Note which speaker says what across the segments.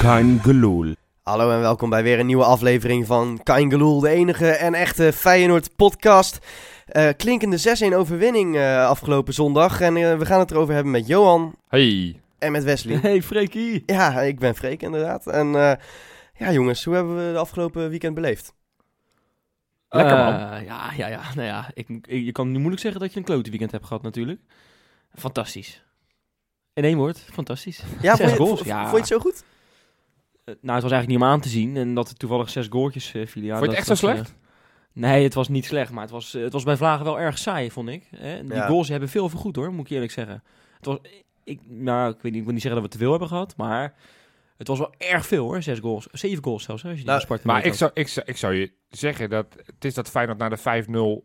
Speaker 1: Kein Geloel.
Speaker 2: Hallo en welkom bij weer een nieuwe aflevering van Kain Geloel, de enige en echte Feyenoord podcast. Eh, klinkende 6-1 overwinning eh, afgelopen zondag en eh, we gaan het erover hebben met Johan
Speaker 3: Hey.
Speaker 2: en met Wesley.
Speaker 3: Hey Freekie.
Speaker 2: Ja, ik ben Freek inderdaad. En eh, ja jongens, hoe hebben we de afgelopen weekend beleefd?
Speaker 3: Lekker man.
Speaker 4: Eh, ja, ja, ja. Nou ja, ik, ik- je kan nu moeilijk zeggen dat je een klote weekend hebt gehad natuurlijk. Fantastisch. In één woord, fantastisch.
Speaker 2: Ja,
Speaker 4: Zes
Speaker 2: vond je,
Speaker 4: goals,
Speaker 2: vo-
Speaker 4: ja.
Speaker 2: vond je het zo goed?
Speaker 4: Eh, nou, het was eigenlijk niet om aan te zien. En dat er toevallig zes goaltjes eh, vielen. Ja,
Speaker 3: Vond je
Speaker 4: dat-
Speaker 3: het echt zo
Speaker 4: dat, eh, nee, het was niet slecht. Maar het was, eh, het was bij Vlagen wel erg saai, vond ik. Hè? En Die
Speaker 2: Ja.
Speaker 4: goals hebben veel vergoed hoor, moet ik je eerlijk zeggen. Het was, eh, ik, nou, ik, weet niet, ik wil niet zeggen dat we te veel hebben gehad. Maar het was wel erg veel hoor. Zes goals. Zeven goals zelfs, hè, als je die
Speaker 2: Nou,
Speaker 4: nou, Sparta
Speaker 3: Maar ik
Speaker 4: meetelt.
Speaker 3: zou, ik, zou, ik zou je zeggen dat het is dat Feyenoord na de 5-0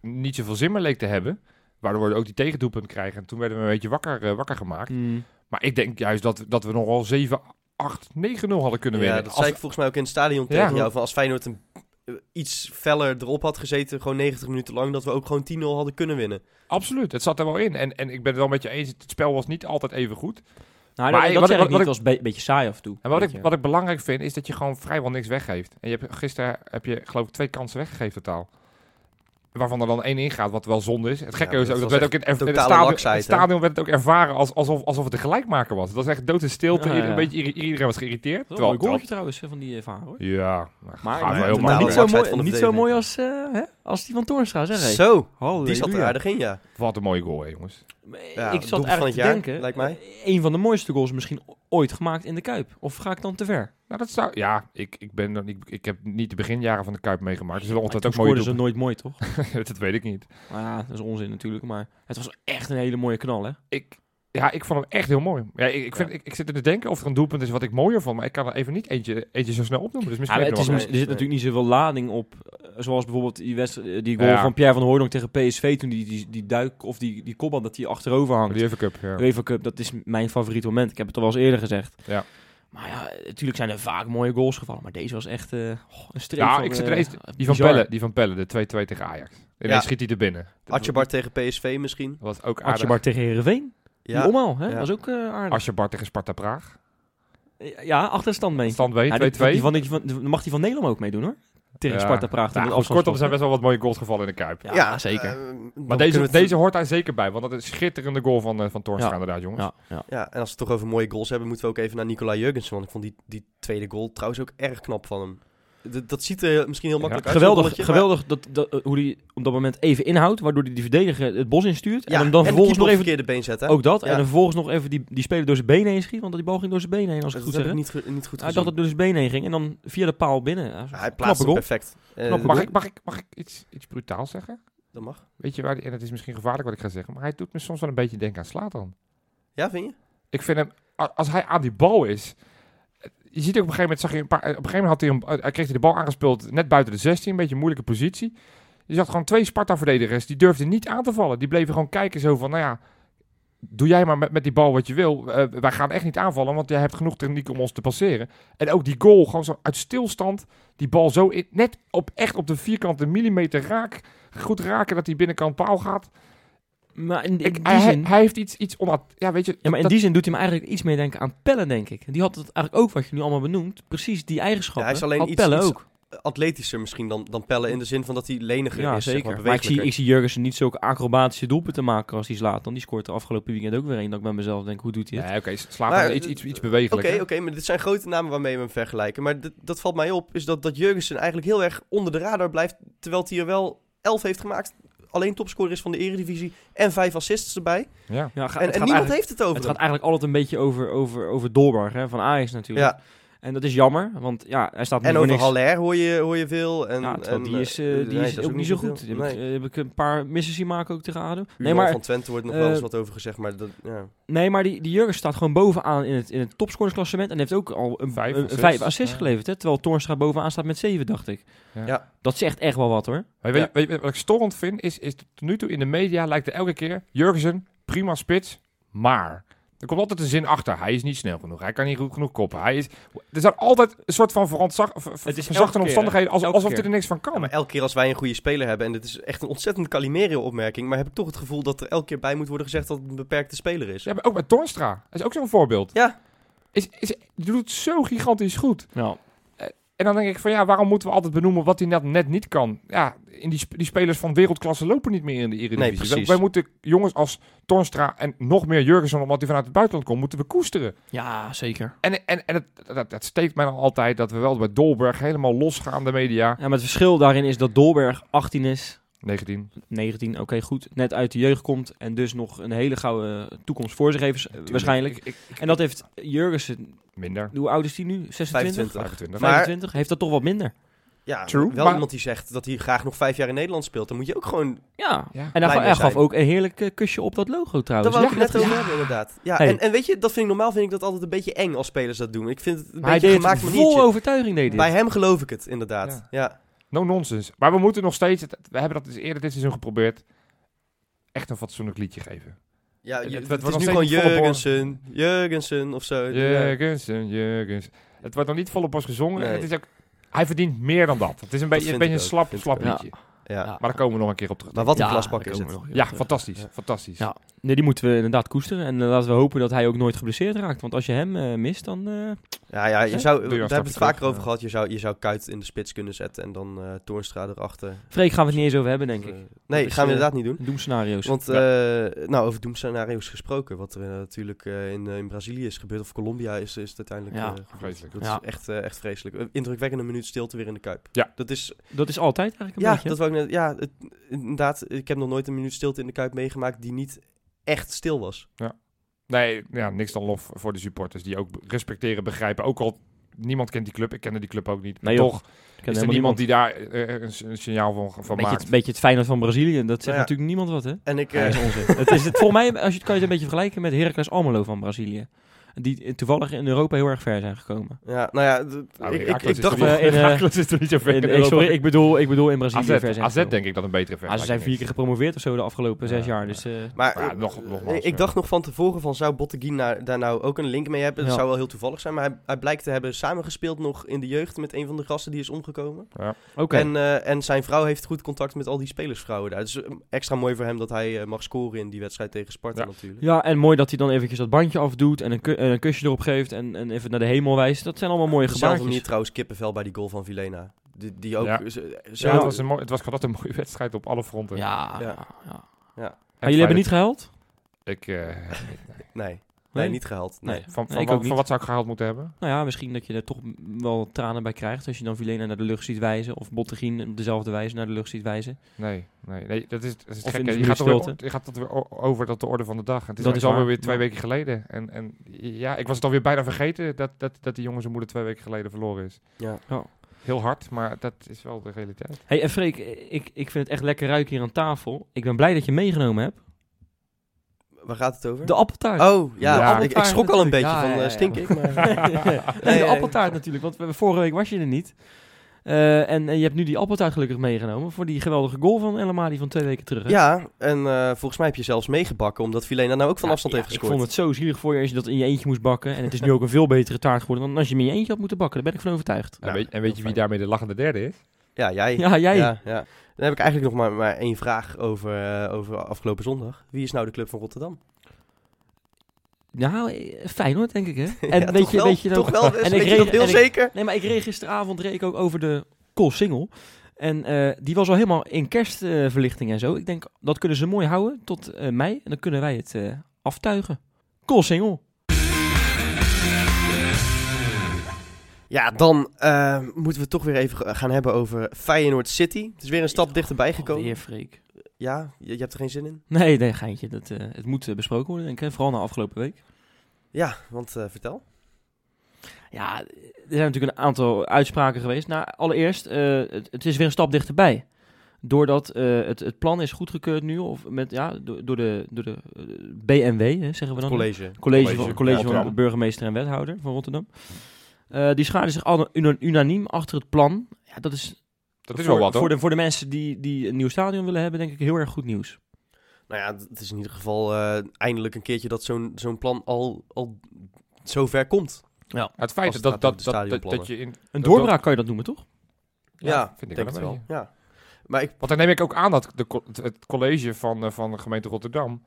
Speaker 3: niet zoveel zin meer leek te hebben. Waardoor we ook die tegendoelpunt krijgen. En toen werden we een beetje wakker, eh, wakker gemaakt.
Speaker 4: Mm.
Speaker 3: Maar ik denk juist dat, dat we nogal 7, 8, 9-0 hadden kunnen
Speaker 2: ja,
Speaker 3: winnen.
Speaker 2: dat
Speaker 3: Als-
Speaker 2: zei ik volgens mij ook in het stadion
Speaker 3: Ja.
Speaker 2: tegen jou. Van als Feyenoord een, eh, iets feller erop had gezeten, gewoon 90 minuten lang, dat we ook gewoon 10-0 hadden kunnen winnen.
Speaker 3: Absoluut, het zat er wel in. En, en ik ben het wel met je eens, het spel was niet altijd even goed.
Speaker 4: Nou,
Speaker 3: Maar
Speaker 4: dat,
Speaker 3: wat
Speaker 4: dat
Speaker 3: ik-
Speaker 4: zeg
Speaker 3: wat
Speaker 4: ik niet.
Speaker 3: ik-
Speaker 4: Het was een be- beetje saai af en toe.
Speaker 3: En wat
Speaker 4: Weet
Speaker 3: ik,
Speaker 4: je.
Speaker 3: wat ik belangrijk vind, is dat je gewoon vrijwel niks weggeeft. En je hebt, gisteren heb je geloof ik twee kansen weggegeven totaal. Waarvan er dan één ingaat, wat wel zonde is. Het gekke
Speaker 2: Ja,
Speaker 3: is
Speaker 2: dat
Speaker 3: ook, dat
Speaker 2: was
Speaker 3: werd ook
Speaker 2: echt
Speaker 3: in, in het,
Speaker 2: totale
Speaker 3: stadion,
Speaker 2: laksheid,
Speaker 3: het stadion werd het ook ervaren als, alsof, alsof het de gelijkmaker was. Het was echt dood en stilte.
Speaker 4: Ja,
Speaker 3: Ieder-
Speaker 4: ja.
Speaker 3: Een beetje, ieder- iedereen was geïrriteerd.
Speaker 4: Wel
Speaker 3: Terwijl-
Speaker 4: een mooi goaltje trouwens eh, van die eh, Van hoor.
Speaker 3: terwijl- ja, nou,
Speaker 4: Maar,
Speaker 3: gaat wel heel
Speaker 2: maar
Speaker 3: makkelijk.
Speaker 4: niet zo
Speaker 2: Laksheid
Speaker 4: mooi,
Speaker 2: van de
Speaker 4: niet zo
Speaker 2: verdediging.
Speaker 4: mooi als, eh, hè? als die van Toornstra, zeg ik.
Speaker 2: Zo, die
Speaker 4: Halleluja.
Speaker 2: zat er aardig in, ja.
Speaker 3: Wat een mooie goal, hè, jongens.
Speaker 4: Maar, eh,
Speaker 2: Ja,
Speaker 4: ik
Speaker 2: doelpunt
Speaker 4: zat
Speaker 2: van het
Speaker 4: eigenlijk te
Speaker 2: jaar,
Speaker 4: denken,
Speaker 2: lijkt mij.
Speaker 4: eh, een van de mooiste goals misschien o- ooit gemaakt in de Kuip. Of ga ik dan te ver?
Speaker 3: Nou, dat zou... Ja, ik, ik, ben, nog niet- ik heb niet de beginjaren van de Kuip meegemaakt. Dus wel
Speaker 4: Maar
Speaker 3: altijd
Speaker 4: toen
Speaker 3: ook mooie
Speaker 4: scoorden ze nooit mooi, toch?
Speaker 3: doelpunten. dat weet ik niet.
Speaker 4: Maar ja, dat is onzin natuurlijk. Maar het was echt een hele mooie knal, hè?
Speaker 3: ik, ja, ik vond hem echt heel mooi. Ja, ik, ik, vind, ik, ik zit er te denken of er een doelpunt is wat ik mooier vond. Maar ik kan er even niet eentje, eentje zo snel opnoemen. Dus misschien
Speaker 4: Ja,
Speaker 3: heb
Speaker 4: het
Speaker 3: je
Speaker 4: is,
Speaker 3: nog
Speaker 4: er
Speaker 3: wel-
Speaker 2: wel.
Speaker 4: zit natuurlijk niet zoveel lading op. eh, Zoals bijvoorbeeld die, wedst- eh, die goal
Speaker 3: Ja.
Speaker 4: van Pierre van Hooydonk tegen PSV. Toen die, die, die duik of die, die kopbal dat die achterover hangt.
Speaker 3: de UEFA Cup. Ja.
Speaker 4: UEFA Cup, dat is mijn favoriet moment. Ik heb het al wel eens eerder gezegd.
Speaker 3: Ja.
Speaker 4: Maar ja, natuurlijk zijn er vaak mooie goals gevallen. Maar deze was echt eh, oh, een streep
Speaker 3: Ja,
Speaker 4: van...
Speaker 3: ik zit
Speaker 4: eh,
Speaker 3: er eens- Die van,
Speaker 4: bizar.
Speaker 3: Pelle, die van Pelle, de 2-2 tegen Ajax. Ineens
Speaker 2: Ja.
Speaker 3: schiet hij er binnen. Dat
Speaker 2: Atjebar tegen PSV misschien.
Speaker 3: was ook aardig.
Speaker 4: Atjebar tegen Heerenveen.
Speaker 2: Ja.
Speaker 4: Die omhaal, hè?
Speaker 2: Ja.
Speaker 4: was ook eh, aardig.
Speaker 3: Atjebar tegen Sparta Praag.
Speaker 4: Ja, achterstand mee.
Speaker 3: Stand Nou, 2-2.
Speaker 4: Ja, die- die van, die van, die- mag die van Nederland ook meedoen, hoor. Tegen
Speaker 3: Ja.
Speaker 4: Sparta Praag. toen
Speaker 3: Nou,
Speaker 4: het
Speaker 3: als kortom
Speaker 4: afstandsschot.
Speaker 3: zijn best wel wat mooie goals gevallen in de Kuip.
Speaker 4: Ja, zeker.
Speaker 2: eh, dan
Speaker 3: maar
Speaker 2: kunnen we
Speaker 3: deze,
Speaker 2: het-
Speaker 3: deze hoort daar zeker bij. Want dat is een schitterende goal van, eh, van Toornstra
Speaker 4: Ja.
Speaker 3: inderdaad, jongens.
Speaker 4: ja, ja.
Speaker 2: Ja, en als we het toch over mooie goals hebben, moeten we ook even naar Nicola Jurgensen. Want ik vond die, die tweede goal trouwens ook erg knap van hem. D- dat ziet er misschien heel makkelijk uit. zo'n
Speaker 4: Geweldig,
Speaker 2: balletje, maar-
Speaker 4: geweldig dat, dat, eh, hoe hij op dat moment even inhoudt, waardoor hij die verdediger het bos instuurt.
Speaker 2: Ja,
Speaker 4: en hem dan
Speaker 2: en de keeper
Speaker 4: vervolgens nog
Speaker 2: op
Speaker 4: even...
Speaker 2: verkeerde been zetten. hè?
Speaker 4: Ook dat.
Speaker 2: Ja.
Speaker 4: En dan vervolgens nog even die, die speler door zijn benen heen schiet. Want die bal ging door zijn benen heen, als ik
Speaker 2: dat
Speaker 4: het goed
Speaker 2: heb
Speaker 4: zeg.
Speaker 2: ik
Speaker 4: hè?
Speaker 2: niet, ge- niet goed
Speaker 4: Hij
Speaker 2: gezien.
Speaker 4: dacht dat het dus been heen ging en dan via de paal binnen. Ja,
Speaker 2: Hij
Speaker 4: Knappe
Speaker 2: plaatste hem
Speaker 4: goal.
Speaker 2: perfect. Eh,
Speaker 4: Knappe
Speaker 3: Mag
Speaker 4: goal.
Speaker 3: ik, mag ik, mag ik iets, iets brutaals zeggen?
Speaker 2: Dat mag.
Speaker 3: Weet je waar, die- en het is misschien gevaarlijk wat ik ga zeggen, maar hij doet me soms wel een beetje denken aan Slatan.
Speaker 2: Ja, vind je?
Speaker 3: Ik vind hem, a- als hij aan die bal is. Je ziet ook op een gegeven moment, zag je een paar, op een gegeven moment had hij, hem, eh, hij kreeg hij de bal aangespeeld net buiten de 16, een beetje een moeilijke positie. Je zag gewoon twee Sparta-verdedigers, die durfden niet aan te vallen. Die bleven gewoon kijken zo van, nou ja, doe jij maar met, met die bal wat je wil. Eh, wij gaan echt niet aanvallen, want jij hebt genoeg techniek om ons te passeren. En ook die goal, gewoon zo uit stilstand, die bal zo in, net op, echt op de vierkante millimeter raak. Goed raken dat die binnenkant paal gaat.
Speaker 4: Maar in, in
Speaker 3: Ik,
Speaker 4: die
Speaker 3: hij,
Speaker 4: zin...
Speaker 3: hij heeft iets, iets onaat... Ja, weet je...
Speaker 4: Ja, maar in
Speaker 3: dat-
Speaker 4: die zin doet hij me eigenlijk iets meer denken aan Pellen, denk ik. Die had het eigenlijk ook, wat je nu allemaal benoemt, precies die eigenschappen.
Speaker 2: Ja, hij is alleen
Speaker 4: had
Speaker 2: iets-
Speaker 4: Pelle
Speaker 2: iets
Speaker 4: ook.
Speaker 2: Atletischer misschien dan, dan Pelle in de zin van dat hij leniger
Speaker 4: Ja,
Speaker 2: is.
Speaker 4: zeker.
Speaker 2: Zeg maar,
Speaker 4: maar ik zie,
Speaker 2: bewegelijker.
Speaker 4: ik zie Jurgensen niet zulke acrobatische doelpunten maken als hij slaat. Dan die scoort de afgelopen weekend ook weer een. Dat ik bij mezelf denk, hoe doet hij
Speaker 3: Nee,
Speaker 4: het?
Speaker 3: oké, slaat
Speaker 2: Maar,
Speaker 3: maar, iets,
Speaker 2: eh,
Speaker 3: iets, iets
Speaker 2: Oké,
Speaker 3: bewegelijk.
Speaker 2: oké, maar dit zijn grote namen waarmee we hem vergelijken. Maar dit- dat valt mij op, is dat, dat Jurgensen eigenlijk heel erg onder de radar blijft. Terwijl hij er wel 11 heeft gemaakt. Alleen topscorer is van de Eredivisie. En vijf assists erbij.
Speaker 3: Ja.
Speaker 4: Ja, ga-
Speaker 2: En,
Speaker 4: het
Speaker 2: en
Speaker 4: gaat
Speaker 2: niemand
Speaker 4: eigenlijk-
Speaker 2: heeft het over
Speaker 4: Het
Speaker 2: hem.
Speaker 4: gaat eigenlijk altijd een beetje over, over, over Dolberg, hè, van Ajax natuurlijk.
Speaker 2: Ja.
Speaker 4: En dat is jammer, want ja, hij staat niet
Speaker 2: En
Speaker 4: voor
Speaker 2: over
Speaker 4: niks.
Speaker 2: Haller hoor je, hoor je veel. En,
Speaker 4: Ja, terwijl
Speaker 2: en,
Speaker 4: die is, eh,
Speaker 2: eh,
Speaker 4: die
Speaker 2: nee,
Speaker 4: is
Speaker 2: dat
Speaker 4: ook niet zo goed.
Speaker 2: veel.
Speaker 4: Heb, ik,
Speaker 2: Nee.
Speaker 4: eh, heb ik een paar missen zien maken ook tegen ADO. Nee,
Speaker 2: Ural
Speaker 4: maar
Speaker 2: van Twente wordt nog wel eens
Speaker 4: eh,
Speaker 2: wat over gezegd. Maar dat, ja.
Speaker 4: Nee, maar die, die Jurgen staat gewoon bovenaan in het, in het topscorersklassement. En heeft ook al een,
Speaker 3: Vijf
Speaker 4: een-
Speaker 3: assists.
Speaker 4: vijf assists
Speaker 3: Ja.
Speaker 4: geleverd. Hè? Terwijl Toornstra bovenaan staat met zeven, dacht ik.
Speaker 3: Ja.
Speaker 2: Ja.
Speaker 4: Dat zegt echt wel wat hoor.
Speaker 3: Maar weet, je- weet je wat ik storend vind, is, is tot nu toe in de media lijkt er elke keer Jurgensen, prima spits, maar... Er komt altijd een zin achter. Hij is niet snel genoeg. Hij kan niet goed genoeg koppen. Hij is, er zijn altijd een soort van verontzag, ver,
Speaker 4: elke
Speaker 3: verzachte
Speaker 4: keer,
Speaker 3: omstandigheden. Als,
Speaker 4: elke
Speaker 3: alsof hij
Speaker 4: keer.
Speaker 3: er niks van kan.
Speaker 2: Maar elke keer als wij een goede speler hebben, en dit is echt een ontzettend Calimero-opmerking, maar heb ik toch het gevoel dat er elke keer bij moet worden gezegd dat het een beperkte speler is.
Speaker 3: Ze hebben ook bij Tornstra. Dat is ook zo'n voorbeeld.
Speaker 2: Ja.
Speaker 3: Is, is, doet het zo gigantisch goed.
Speaker 4: Ja.
Speaker 3: En dan denk ik van ja, waarom moeten we altijd benoemen wat hij net, net niet kan? Ja, in die, sp- die spelers van wereldklasse lopen niet meer in de Eredivisie.
Speaker 2: Nee,
Speaker 3: Wij-
Speaker 2: precies.
Speaker 3: wij, moeten jongens als Tornstra en nog meer Jurgensen, omdat die vanuit het buitenland komt, moeten we koesteren.
Speaker 4: ja, zeker.
Speaker 3: En, en, en het, dat, dat steekt mij dan altijd dat we wel bij Dolberg helemaal losgaan de media.
Speaker 4: Ja, maar het verschil daarin is dat Dolberg 18 is,
Speaker 3: 19.
Speaker 4: 19, oké goed, net uit de jeugd komt en dus nog een hele gouden toekomst voor zich heeft eh, waarschijnlijk.
Speaker 3: Ik- ik-
Speaker 4: En dat heeft Jurgensen,
Speaker 3: minder.
Speaker 4: hoe oud is hij nu? 26?
Speaker 2: 25.
Speaker 3: 25.
Speaker 2: Maar-
Speaker 4: 25? Heeft dat toch wat minder?
Speaker 2: Ja,
Speaker 3: True,
Speaker 2: wel
Speaker 3: maar-
Speaker 2: iemand die zegt dat hij graag nog vijf jaar in Nederland speelt. Dan moet je ook gewoon...
Speaker 4: Ja. En
Speaker 3: Ja.
Speaker 4: hij,
Speaker 2: Blij
Speaker 4: hij
Speaker 2: mee
Speaker 4: gaf
Speaker 2: zijn.
Speaker 4: ook een heerlijk eh, kusje op dat logo
Speaker 2: Daar
Speaker 4: trouwens.
Speaker 2: wou ik het net
Speaker 4: dus Ja, dat-
Speaker 2: over hebben, inderdaad. Ja,
Speaker 4: Hey.
Speaker 2: en, en weet je, dat vind ik normaal vind ik dat altijd een beetje eng als spelers dat doen. Ik vind het een
Speaker 4: Maar hij
Speaker 2: beetje een
Speaker 4: deed het
Speaker 2: gemaakt
Speaker 4: vol
Speaker 2: maniertje.
Speaker 4: overtuiging deed hij.
Speaker 2: Bij hem geloof ik het, inderdaad.
Speaker 3: Ja.
Speaker 2: Ja.
Speaker 3: No nonsense. Maar we moeten nog steeds, het- we hebben dat dus eerder dit seizoen geprobeerd, echt een fatsoenlijk liedje geven.
Speaker 2: Ja, je-
Speaker 3: Het- het
Speaker 2: het,
Speaker 3: wordt
Speaker 2: is
Speaker 3: nog
Speaker 2: nu
Speaker 3: steeds
Speaker 2: gewoon
Speaker 3: niet volle
Speaker 2: Jurgensen, Jurgensen of zo. Ja.
Speaker 3: Jurgensen, Jurgensen. Het wordt nog niet volop als gezongen.
Speaker 2: Nee.
Speaker 3: Het is ook, hij verdient meer dan dat. Het is een beetje,
Speaker 2: vind
Speaker 3: een, beetje
Speaker 2: ik
Speaker 3: een
Speaker 2: ook,
Speaker 3: slap,
Speaker 2: vind ik
Speaker 3: slap
Speaker 2: ook.
Speaker 3: liedje.
Speaker 2: Ja.
Speaker 4: Ja.
Speaker 3: Maar daar komen we nog een keer op terug.
Speaker 2: Maar wat een
Speaker 4: Ja,
Speaker 2: klaspak
Speaker 4: daar
Speaker 2: is
Speaker 4: komen
Speaker 2: het.
Speaker 4: we nog
Speaker 3: Ja,
Speaker 4: op terug.
Speaker 3: fantastisch. Fantastisch.
Speaker 4: Ja. Nee, die moeten we inderdaad koesteren. En eh, laten we hopen dat hij ook nooit geblesseerd raakt. Want als je hem eh, mist, dan... eh,
Speaker 2: Ja, ja, je
Speaker 4: Ja.
Speaker 2: zou,
Speaker 3: Doe
Speaker 2: daar
Speaker 3: je
Speaker 2: hebben
Speaker 3: een
Speaker 2: we het
Speaker 3: stapje
Speaker 2: vaker
Speaker 3: terug,
Speaker 2: over
Speaker 3: ja.
Speaker 2: gehad. Je zou, je zou Kuit in de spits kunnen zetten en dan eh Toornstra erachter.
Speaker 4: Freek gaan we het niet eens over hebben, denk
Speaker 2: Of,
Speaker 4: ik.
Speaker 2: eh, nee,
Speaker 4: is,
Speaker 2: gaan we
Speaker 4: eh,
Speaker 2: inderdaad niet doen.
Speaker 4: Doemscenario's.
Speaker 2: Want, eh, nou, over doemscenario's gesproken. Wat er eh, natuurlijk eh, in, eh, in Brazilië is gebeurd, of Colombia is, is het uiteindelijk...
Speaker 4: Ja,
Speaker 2: eh, gebeurd.
Speaker 3: vreselijk.
Speaker 2: Dat
Speaker 4: Ja.
Speaker 2: is echt, eh, echt vreselijk. Een Indrukwekkende minuut stilte weer in de Kuip.
Speaker 3: Ja.
Speaker 2: Dat is,
Speaker 4: dat is altijd eigenlijk een
Speaker 2: ja,
Speaker 4: beetje.
Speaker 2: dat wou ik net, ja het- inderdaad. Ik heb nog nooit een minuut stilte in de Kuip meegemaakt die niet echt stil was.
Speaker 3: Nee, ja, niks dan lof voor de supporters die ook respecteren, begrijpen. Ook al niemand kent die club, ik kende die club ook niet. Maar
Speaker 4: Nee, joh.
Speaker 3: toch
Speaker 4: Ik ken
Speaker 3: is er
Speaker 4: helemaal
Speaker 3: niemand, die daar eh, een, s- een signaal van, van
Speaker 4: beetje,
Speaker 3: maakt.
Speaker 4: het, beetje het Feyenoord van Brazilië. Dat zegt
Speaker 2: Ja.
Speaker 4: natuurlijk niemand wat, hè?
Speaker 2: En ik...
Speaker 4: Ja,
Speaker 2: eh,
Speaker 4: dat is onzin. het is het, volgens mij, als je het kan je het een beetje vergelijken met Heracles Almelo van Brazilië. Die eh, toevallig in Europa heel erg ver zijn gekomen.
Speaker 2: ja, nou ja, d-
Speaker 3: Nou,
Speaker 2: ik, ik,
Speaker 3: Heracles
Speaker 2: ik
Speaker 3: is
Speaker 2: dacht...
Speaker 3: er niet-
Speaker 4: eh, in, eh,
Speaker 3: Heracles is er niet zo ver.
Speaker 4: In-
Speaker 3: in
Speaker 4: eh,
Speaker 3: Europa.
Speaker 4: sorry, ik bedoel, ik bedoel in Brazilië ver
Speaker 3: AZ,
Speaker 4: zijn
Speaker 3: AZ
Speaker 4: gekomen.
Speaker 3: denk ik dat een betere
Speaker 4: Maar
Speaker 3: vergelijking
Speaker 4: ze zijn vier
Speaker 3: is.
Speaker 4: keer gepromoveerd of zo de afgelopen
Speaker 3: Ja.
Speaker 4: zes jaar. Dus, eh,
Speaker 2: Maar
Speaker 3: Maar ja,
Speaker 2: eh,
Speaker 3: nog- nogmaals,
Speaker 2: ik
Speaker 3: ja.
Speaker 2: ik dacht nog van tevoren van zou Botteguin daar, daar nou ook een link mee hebben. Dat
Speaker 4: Ja.
Speaker 2: zou wel heel toevallig zijn. Maar hij, hij blijkt te hebben samengespeeld nog in de jeugd met een van de gasten die is omgekomen.
Speaker 4: Oké.
Speaker 2: En, eh, en zijn vrouw heeft goed contact met al die spelersvrouwen daar. Dus eh, extra mooi voor hem dat hij eh, mag scoren in die wedstrijd tegen Sparta
Speaker 3: Ja.
Speaker 2: natuurlijk.
Speaker 4: Ja, en mooi dat hij dan eventjes dat bandje afdoet en een, ku- en een kusje erop geeft en, en even naar de hemel wijst. Dat zijn allemaal mooie
Speaker 2: Op dezelfde
Speaker 4: gebaartjes.
Speaker 2: manier trouwens kippenvel bij die goal van Vilena. Die, die ook
Speaker 3: Ja.
Speaker 2: z- zo...
Speaker 3: Ja, het, was een mooi, het was gewoon dat een mooie wedstrijd op alle fronten.
Speaker 4: Ja, ja.
Speaker 2: Ja.
Speaker 4: Maar jullie hebben niet gehuild?
Speaker 3: Ik, eh,
Speaker 2: Nee, nee, niet gehaald. Nee.
Speaker 4: Nee.
Speaker 3: van, van,
Speaker 4: ik
Speaker 3: wat,
Speaker 4: ook niet.
Speaker 3: van wat zou ik gehaald moeten hebben?
Speaker 4: Nou ja, misschien dat je er toch m- wel tranen bij krijgt als je dan Vilena naar de lucht ziet wijzen of Bottegien op dezelfde wijze naar de lucht ziet wijzen.
Speaker 3: Nee, nee, nee dat is, dat is
Speaker 4: Of
Speaker 3: gek.
Speaker 4: in
Speaker 3: hè.
Speaker 4: de
Speaker 3: Je gaat, er
Speaker 4: stilte.
Speaker 3: weer, je gaat dat weer o- over tot de orde van de dag. Het is,
Speaker 4: Dat is
Speaker 3: dat is alweer
Speaker 4: waar,
Speaker 3: weer twee
Speaker 4: ja.
Speaker 3: weken geleden. En, en ja, ik was het alweer bijna vergeten dat, dat, dat die jongen zijn moeder twee weken geleden verloren is.
Speaker 2: Ja.
Speaker 4: Ja.
Speaker 3: Heel hard, maar dat is wel de realiteit.
Speaker 4: hey, en Freek, ik, ik vind het echt lekker ruiken hier aan tafel. Ik ben blij dat je meegenomen hebt.
Speaker 2: Waar gaat het over?
Speaker 4: De appeltaart.
Speaker 2: Oh, ja.
Speaker 3: Ja.
Speaker 2: Ik, ik schrok al een beetje
Speaker 4: Ja,
Speaker 2: van
Speaker 4: ja,
Speaker 2: eh,
Speaker 4: ja.
Speaker 2: stink ik. Maar...
Speaker 4: Nee, de appeltaart natuurlijk, want we- vorige week was je er niet. Eh, en, en je hebt nu die appeltaart gelukkig meegenomen voor die geweldige goal van El Amadi van twee weken terug. hè?
Speaker 2: Ja, en eh, volgens mij heb je zelfs meegebakken omdat Vilena nou ook van
Speaker 4: Ja,
Speaker 2: afstand
Speaker 4: ja,
Speaker 2: heeft gescoord.
Speaker 4: Ik vond het zo zielig voor je als je dat in je eentje moest bakken. En het is nu ook een veel betere taart geworden dan als je hem in je eentje had moeten bakken. Daar ben ik van overtuigd.
Speaker 3: en weet, en weet je wie
Speaker 2: fijn.
Speaker 3: daarmee de lachende derde is?
Speaker 2: Ja, jij.
Speaker 4: Ja, jij.
Speaker 2: Ja, ja. Dan heb ik eigenlijk nog maar, maar één vraag over, eh, over afgelopen zondag. Wie is nou de club van Rotterdam?
Speaker 4: Nou, eh, Feyenoord denk ik, hè? En
Speaker 2: Ja,
Speaker 4: weet,
Speaker 2: toch
Speaker 4: je,
Speaker 2: wel,
Speaker 4: weet je dan...
Speaker 2: Toch wel,
Speaker 4: ik
Speaker 2: en weet je
Speaker 4: reg-
Speaker 2: dat heel
Speaker 4: en ik-
Speaker 2: zeker?
Speaker 4: Nee, maar ik reed gisteravond reed ik ook over de Koolsingel. En eh, die was al helemaal in kerstverlichting en zo. Ik denk, dat kunnen ze mooi houden tot eh, mei. En dan kunnen wij het eh, aftuigen. Koolsingel.
Speaker 2: Ja, dan eh, moeten we het toch weer even ge- gaan hebben over Feyenoord City. Het is weer een stap dichterbij gekomen.
Speaker 4: Weer Freek.
Speaker 2: Ja, je, je hebt er geen zin in?
Speaker 4: Nee, nee, geintje. Dat, eh, het moet eh, besproken worden, denk ik. hè. Vooral na afgelopen week.
Speaker 2: Ja, want eh, vertel.
Speaker 4: Ja, er zijn natuurlijk een aantal uitspraken geweest. Nou, allereerst, eh, het, het is weer een stap dichterbij. Doordat eh, het, het plan is goedgekeurd nu, of met, ja, door, door de, door de eh, BNW, hè, zeggen we dan.
Speaker 2: College.
Speaker 4: college,
Speaker 3: College
Speaker 4: van, college van de
Speaker 3: Rotterdam.
Speaker 4: burgemeester en wethouder van Rotterdam. Eh, die schaarden zich alle- una- unaniem achter het plan. Ja, dat is,
Speaker 3: Dat is
Speaker 4: voor,
Speaker 3: wel wat,
Speaker 4: voor,
Speaker 3: hoor.
Speaker 4: de, voor de mensen die, die een nieuw stadion willen hebben, denk ik heel erg goed nieuws.
Speaker 2: Nou ja, het is in ieder geval eh, eindelijk een keertje dat zo'n zo'n plan al, al zo ver komt.
Speaker 3: Het
Speaker 2: Als
Speaker 3: feit
Speaker 2: het
Speaker 3: dat,
Speaker 2: gaat om
Speaker 3: dat,
Speaker 2: de
Speaker 3: dat, dat,
Speaker 2: stadionplannen.
Speaker 3: dat je in...
Speaker 4: Een
Speaker 3: dat-
Speaker 4: doorbraak kan je dat noemen, toch?
Speaker 3: Ja,
Speaker 2: Ja,
Speaker 3: vind ik
Speaker 2: denk
Speaker 3: wel
Speaker 2: het
Speaker 3: een
Speaker 2: wel. Ja. Maar ik,
Speaker 3: Want dan neem ik ook aan dat de, co- het- het college van, eh, van de gemeente Rotterdam...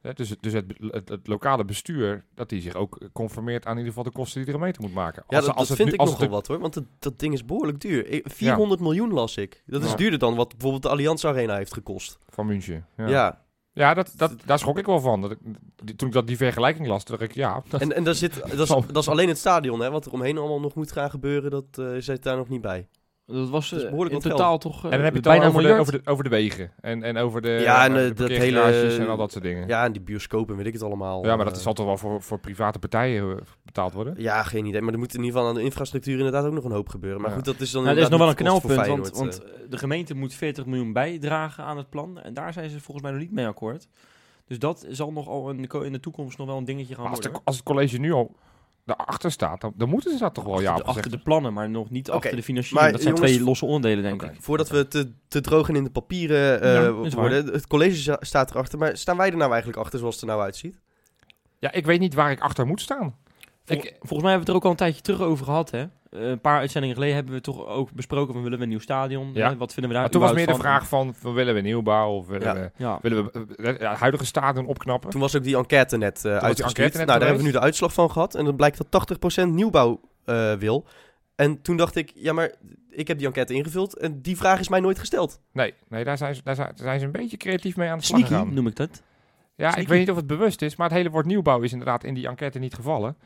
Speaker 3: Hè, Dus, het- dus het, het, het lokale bestuur, dat die zich ook conformeert aan in ieder geval de kosten die er een meter moet maken.
Speaker 2: Ja,
Speaker 3: Als-
Speaker 2: dat, dat
Speaker 3: als het
Speaker 2: vind
Speaker 3: nu-
Speaker 2: ik
Speaker 3: als
Speaker 2: nogal
Speaker 3: het-
Speaker 2: wat hoor, want dat, dat ding is behoorlijk duur. Eh, 400 miljoen las ik. Dat is
Speaker 3: Ja.
Speaker 2: duurder dan wat bijvoorbeeld de Allianz Arena heeft gekost.
Speaker 3: Van München. Ja,
Speaker 2: Ja,
Speaker 3: ja. dat, dat, daar schrok ik wel van. Dat ik, die- toen ik dat die vergelijking las, dacht ik, ja, dat,
Speaker 2: en, en daar zit, dat, is,
Speaker 3: zal-
Speaker 2: dat is alleen het stadion, hè. Wat er omheen allemaal nog moet gaan gebeuren, dat eh zit daar nog niet bij.
Speaker 4: Dat was
Speaker 2: Dat is
Speaker 4: eh,
Speaker 2: behoorlijk
Speaker 4: in
Speaker 2: wat
Speaker 4: totaal toch eh,
Speaker 3: En dan heb je het
Speaker 4: bijna
Speaker 3: dan
Speaker 4: een
Speaker 3: over de,
Speaker 4: miljard.
Speaker 3: over, de, over de wegen en, en over de,
Speaker 2: Ja, en,
Speaker 3: eh,
Speaker 2: eh,
Speaker 3: de
Speaker 2: dat
Speaker 3: parkeergarages
Speaker 2: hele-
Speaker 3: en al dat soort dingen. Ja,
Speaker 2: Ja, en die bioscoop en weet ik het allemaal.
Speaker 3: maar dat
Speaker 2: Eh,
Speaker 3: zal toch wel voor, voor private partijen eh, betaald worden?
Speaker 2: Ja, geen idee. Maar er moet in ieder geval aan de infrastructuur inderdaad ook nog een hoop gebeuren. Maar
Speaker 3: Ja.
Speaker 2: goed, dat is dan
Speaker 4: Nou, dat is nog wel een
Speaker 2: inderdaad niet
Speaker 4: knelpunt,
Speaker 2: kost
Speaker 4: want,
Speaker 2: voor
Speaker 4: want
Speaker 2: Feyenoord,
Speaker 4: eh, de gemeente moet 40 miljoen bijdragen aan het plan. En daar zijn ze volgens mij nog niet mee akkoord. Dus dat zal nogal in de, ko- in de toekomst nog wel een dingetje gaan
Speaker 3: Maar als,
Speaker 4: worden.
Speaker 3: de,
Speaker 4: hoor.
Speaker 3: als het college nu al daarachter staat, dan, dan moeten ze dat toch wel ja
Speaker 4: achter,
Speaker 3: op
Speaker 4: de, Dus achter de plannen, maar nog niet
Speaker 2: Oké,
Speaker 4: achter de financiering.
Speaker 2: maar
Speaker 4: dat zijn
Speaker 2: jongens-
Speaker 4: twee losse onderdelen, denk
Speaker 3: Oké.
Speaker 4: ik.
Speaker 2: eh. Voordat we te, te droog en in de papieren eh,
Speaker 4: Ja, dat is waar.
Speaker 2: worden. Het college za- staat erachter. Maar staan wij er nou eigenlijk achter zoals het er nou uitziet?
Speaker 3: Ja, ik weet niet waar ik achter moet staan.
Speaker 4: Vol-
Speaker 3: Ik-
Speaker 4: volgens mij hebben we het er ook al een tijdje terug over gehad, hè? Eh, een paar uitzendingen geleden hebben we toch ook besproken van willen we een nieuw stadion?
Speaker 3: Ja.
Speaker 4: Hè? Wat vinden we daar
Speaker 3: Maar toen was meer
Speaker 4: überhaupt
Speaker 3: de vraag van, van, willen we nieuwbouw of willen
Speaker 2: Ja.
Speaker 3: we,
Speaker 4: van? Ja.
Speaker 3: willen we eh, eh, het huidige stadion opknappen?
Speaker 2: Toen was ook die enquête net eh
Speaker 3: enquête net
Speaker 2: uitgestuurd. Nou, daar
Speaker 3: geweest.
Speaker 2: hebben we nu de uitslag van gehad. En dan blijkt dat 80% nieuwbouw eh, wil. En toen dacht ik, ja, maar ik heb die enquête ingevuld. En die vraag is mij nooit gesteld.
Speaker 3: Nee, nee daar, zijn ze, daar, zijn, daar zijn ze een beetje creatief mee aan de slag
Speaker 4: Sneaky
Speaker 3: gegaan.
Speaker 4: noem ik dat.
Speaker 3: Ja, ik
Speaker 4: Sneaky.
Speaker 3: weet niet of het bewust is, maar het hele woord nieuwbouw is inderdaad in die enquête niet gevallen.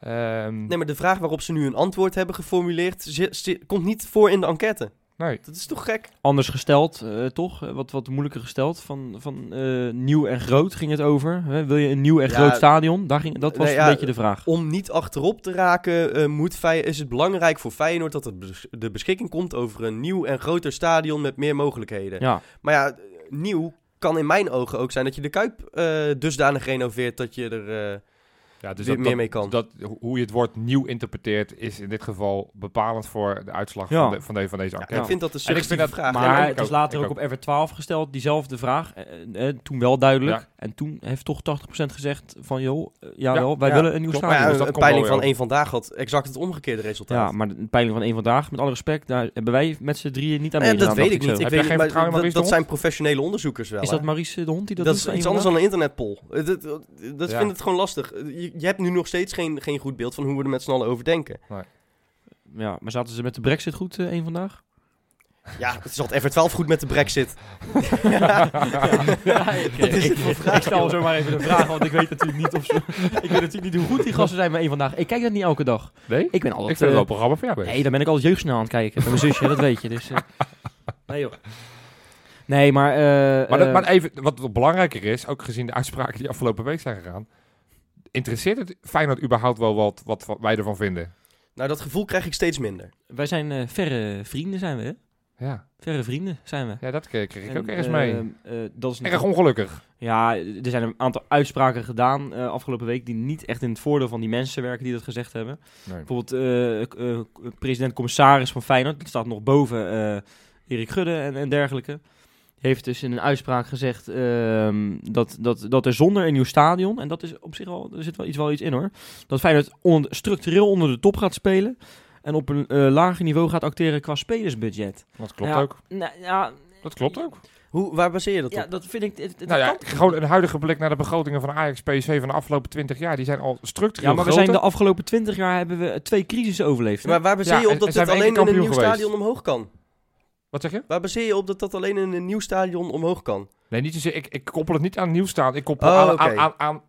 Speaker 3: Ehm,
Speaker 2: Nee, maar de vraag waarop ze nu een antwoord hebben geformuleerd... zi- zi- komt niet voor in de enquête.
Speaker 3: nee.
Speaker 2: Dat is toch gek?
Speaker 4: Anders gesteld, eh, toch? Eh, Wat, wat moeilijker gesteld. Van, van eh, nieuw en groot ging het over. Hè? Wil je een nieuw en
Speaker 2: Ja.
Speaker 4: groot stadion? Daar ging, dat was
Speaker 2: Nee,
Speaker 4: een
Speaker 2: ja,
Speaker 4: beetje de vraag.
Speaker 2: Om niet achterop te raken, eh, moet Fey- is het belangrijk voor Feyenoord dat er bes- de beschikking komt over een nieuw en groter stadion met meer mogelijkheden.
Speaker 4: Ja.
Speaker 2: Maar ja, eh, nieuw kan in mijn ogen ook zijn dat je de Kuip eh, dusdanig renoveert dat je er... eh,
Speaker 3: Ja, dus
Speaker 2: weer
Speaker 3: dat,
Speaker 2: meer
Speaker 3: dat-
Speaker 2: mee kan.
Speaker 3: Dat, ho- hoe je het woord nieuw interpreteert, is in dit geval bepalend voor de uitslag
Speaker 4: Ja.
Speaker 3: van, de- van, de- van deze
Speaker 2: ja,
Speaker 3: enquête.
Speaker 2: ik vind dat een
Speaker 3: En ik vind
Speaker 2: subjectieve
Speaker 3: dat-
Speaker 2: vraag.
Speaker 3: Ja,
Speaker 4: Maar
Speaker 3: ik
Speaker 4: het is
Speaker 3: ook,
Speaker 4: later
Speaker 3: ik
Speaker 4: ook op R 12 gesteld, diezelfde vraag. Eh, eh, toen wel duidelijk.
Speaker 3: Ja.
Speaker 4: En toen heeft toch 80% gezegd van, joh, eh, jawel, wij
Speaker 2: ja,
Speaker 4: willen een nieuw
Speaker 3: klopt.
Speaker 4: stadion.
Speaker 2: Maar nou ja,
Speaker 3: dus dat
Speaker 2: een
Speaker 3: komt
Speaker 2: peiling
Speaker 3: wel
Speaker 2: van
Speaker 3: weer
Speaker 2: één vandaag had exact het omgekeerde resultaat.
Speaker 4: Ja, maar de peiling van één vandaag, met alle respect, daar hebben wij met z'n drieën niet aan
Speaker 2: Nou ja,
Speaker 4: meegedaan,
Speaker 2: dat weet
Speaker 4: dacht
Speaker 2: ik niet.
Speaker 4: zo.
Speaker 2: Ik
Speaker 3: Heb
Speaker 2: weet
Speaker 3: jij
Speaker 2: niet,
Speaker 3: geen
Speaker 2: maar
Speaker 3: vertrouwen in
Speaker 2: dat,
Speaker 3: Maurice de
Speaker 2: dat
Speaker 3: Hond?
Speaker 2: zijn professionele onderzoekers wel.
Speaker 4: Is
Speaker 2: hè?
Speaker 4: dat Maurice de Hond die dat
Speaker 2: Dat,
Speaker 4: doet
Speaker 2: is
Speaker 4: van
Speaker 2: iets
Speaker 4: één
Speaker 2: anders
Speaker 4: vandaag?
Speaker 2: dan een internetpoll. Dat, dat, dat ik
Speaker 3: Ja.
Speaker 2: vind het gewoon lastig. Eh, Je, je hebt nu nog steeds geen, geen goed beeld van hoe we er met z'n allen over denken.
Speaker 4: Ja, maar zaten ze met de brexit goed eh, één vandaag?
Speaker 2: Ja, het zat Ever 12 goed met de brexit.
Speaker 4: Ja, ik, ik, ik stel zomaar even de vraag, want ik weet natuurlijk niet, of ze, ik weet natuurlijk niet hoe goed die gasten zijn met één vandaag. Ik kijk dat niet elke dag.
Speaker 3: Nee?
Speaker 4: Ik ben
Speaker 3: Ik
Speaker 4: altijd...
Speaker 3: vind het wel
Speaker 4: eh,
Speaker 3: een programma voor jou bezig.
Speaker 4: Nee, dan ben ik altijd jeugdsnel aan het kijken. Met mijn zusje, dat weet je. Dus, eh. Nee, joh. Nee, maar... eh,
Speaker 3: Maar, dat-
Speaker 4: eh,
Speaker 3: maar even, wat wat belangrijker is, ook gezien de uitspraken die afgelopen week zijn gegaan, interesseert het Feyenoord überhaupt wel wat, wat wat wij ervan vinden?
Speaker 2: Nou, dat gevoel krijg ik steeds minder.
Speaker 4: wij zijn eh, verre vrienden, zijn we, hè?
Speaker 3: Ja,
Speaker 4: Verre vrienden zijn we.
Speaker 3: ja dat kreeg kreeg ik
Speaker 4: En,
Speaker 3: ook ergens
Speaker 4: eh,
Speaker 3: mee.
Speaker 4: eh, dat is
Speaker 3: Erg ongelukkig.
Speaker 4: ja, er zijn een aantal uitspraken gedaan eh, afgelopen week... die niet echt in het voordeel van die mensen werken die dat gezegd hebben.
Speaker 3: Nee.
Speaker 4: Bijvoorbeeld eh, eh, president-commissaris van Feyenoord, die staat nog boven eh, Erik Gudde en, en dergelijke. Heeft dus in een uitspraak gezegd ehm, dat, dat, dat er zonder een nieuw stadion, en dat is op zich wel, er zit wel iets, wel iets in hoor, dat Feyenoord on- structureel onder de top gaat spelen en op een eh, lager niveau gaat acteren qua spelersbudget.
Speaker 3: Dat klopt
Speaker 4: Ja.
Speaker 3: ook.
Speaker 4: Nou ja,
Speaker 3: Dat klopt ook.
Speaker 2: Hoe, waar baseer je dat
Speaker 4: ja
Speaker 2: op?
Speaker 4: dat vind ik... Het, het
Speaker 3: Nou ja,
Speaker 4: kan-
Speaker 3: gewoon een huidige blik naar de begrotingen van Ajax, PSV van de afgelopen 20 jaar. Die zijn al structureel
Speaker 4: ja, maar we
Speaker 3: groter.
Speaker 4: zijn de afgelopen twintig jaar hebben we twee crisissen overleefd. hè?
Speaker 2: Maar waar baseer
Speaker 3: Ja,
Speaker 2: je op
Speaker 3: en-
Speaker 2: dat
Speaker 3: en
Speaker 2: dit
Speaker 3: zijn we één
Speaker 2: alleen in
Speaker 3: keer
Speaker 2: een nieuw
Speaker 3: kampioen geweest?
Speaker 2: stadion omhoog kan?
Speaker 3: Wat zeg je?
Speaker 2: Waar baseer je op dat dat alleen in een nieuw stadion omhoog kan?
Speaker 3: Nee, niet zozeer. Ik, ik koppel het niet aan nieuw staan. Ik koppel
Speaker 2: Oh,
Speaker 3: aan,
Speaker 2: oké.
Speaker 3: aan, aan, aan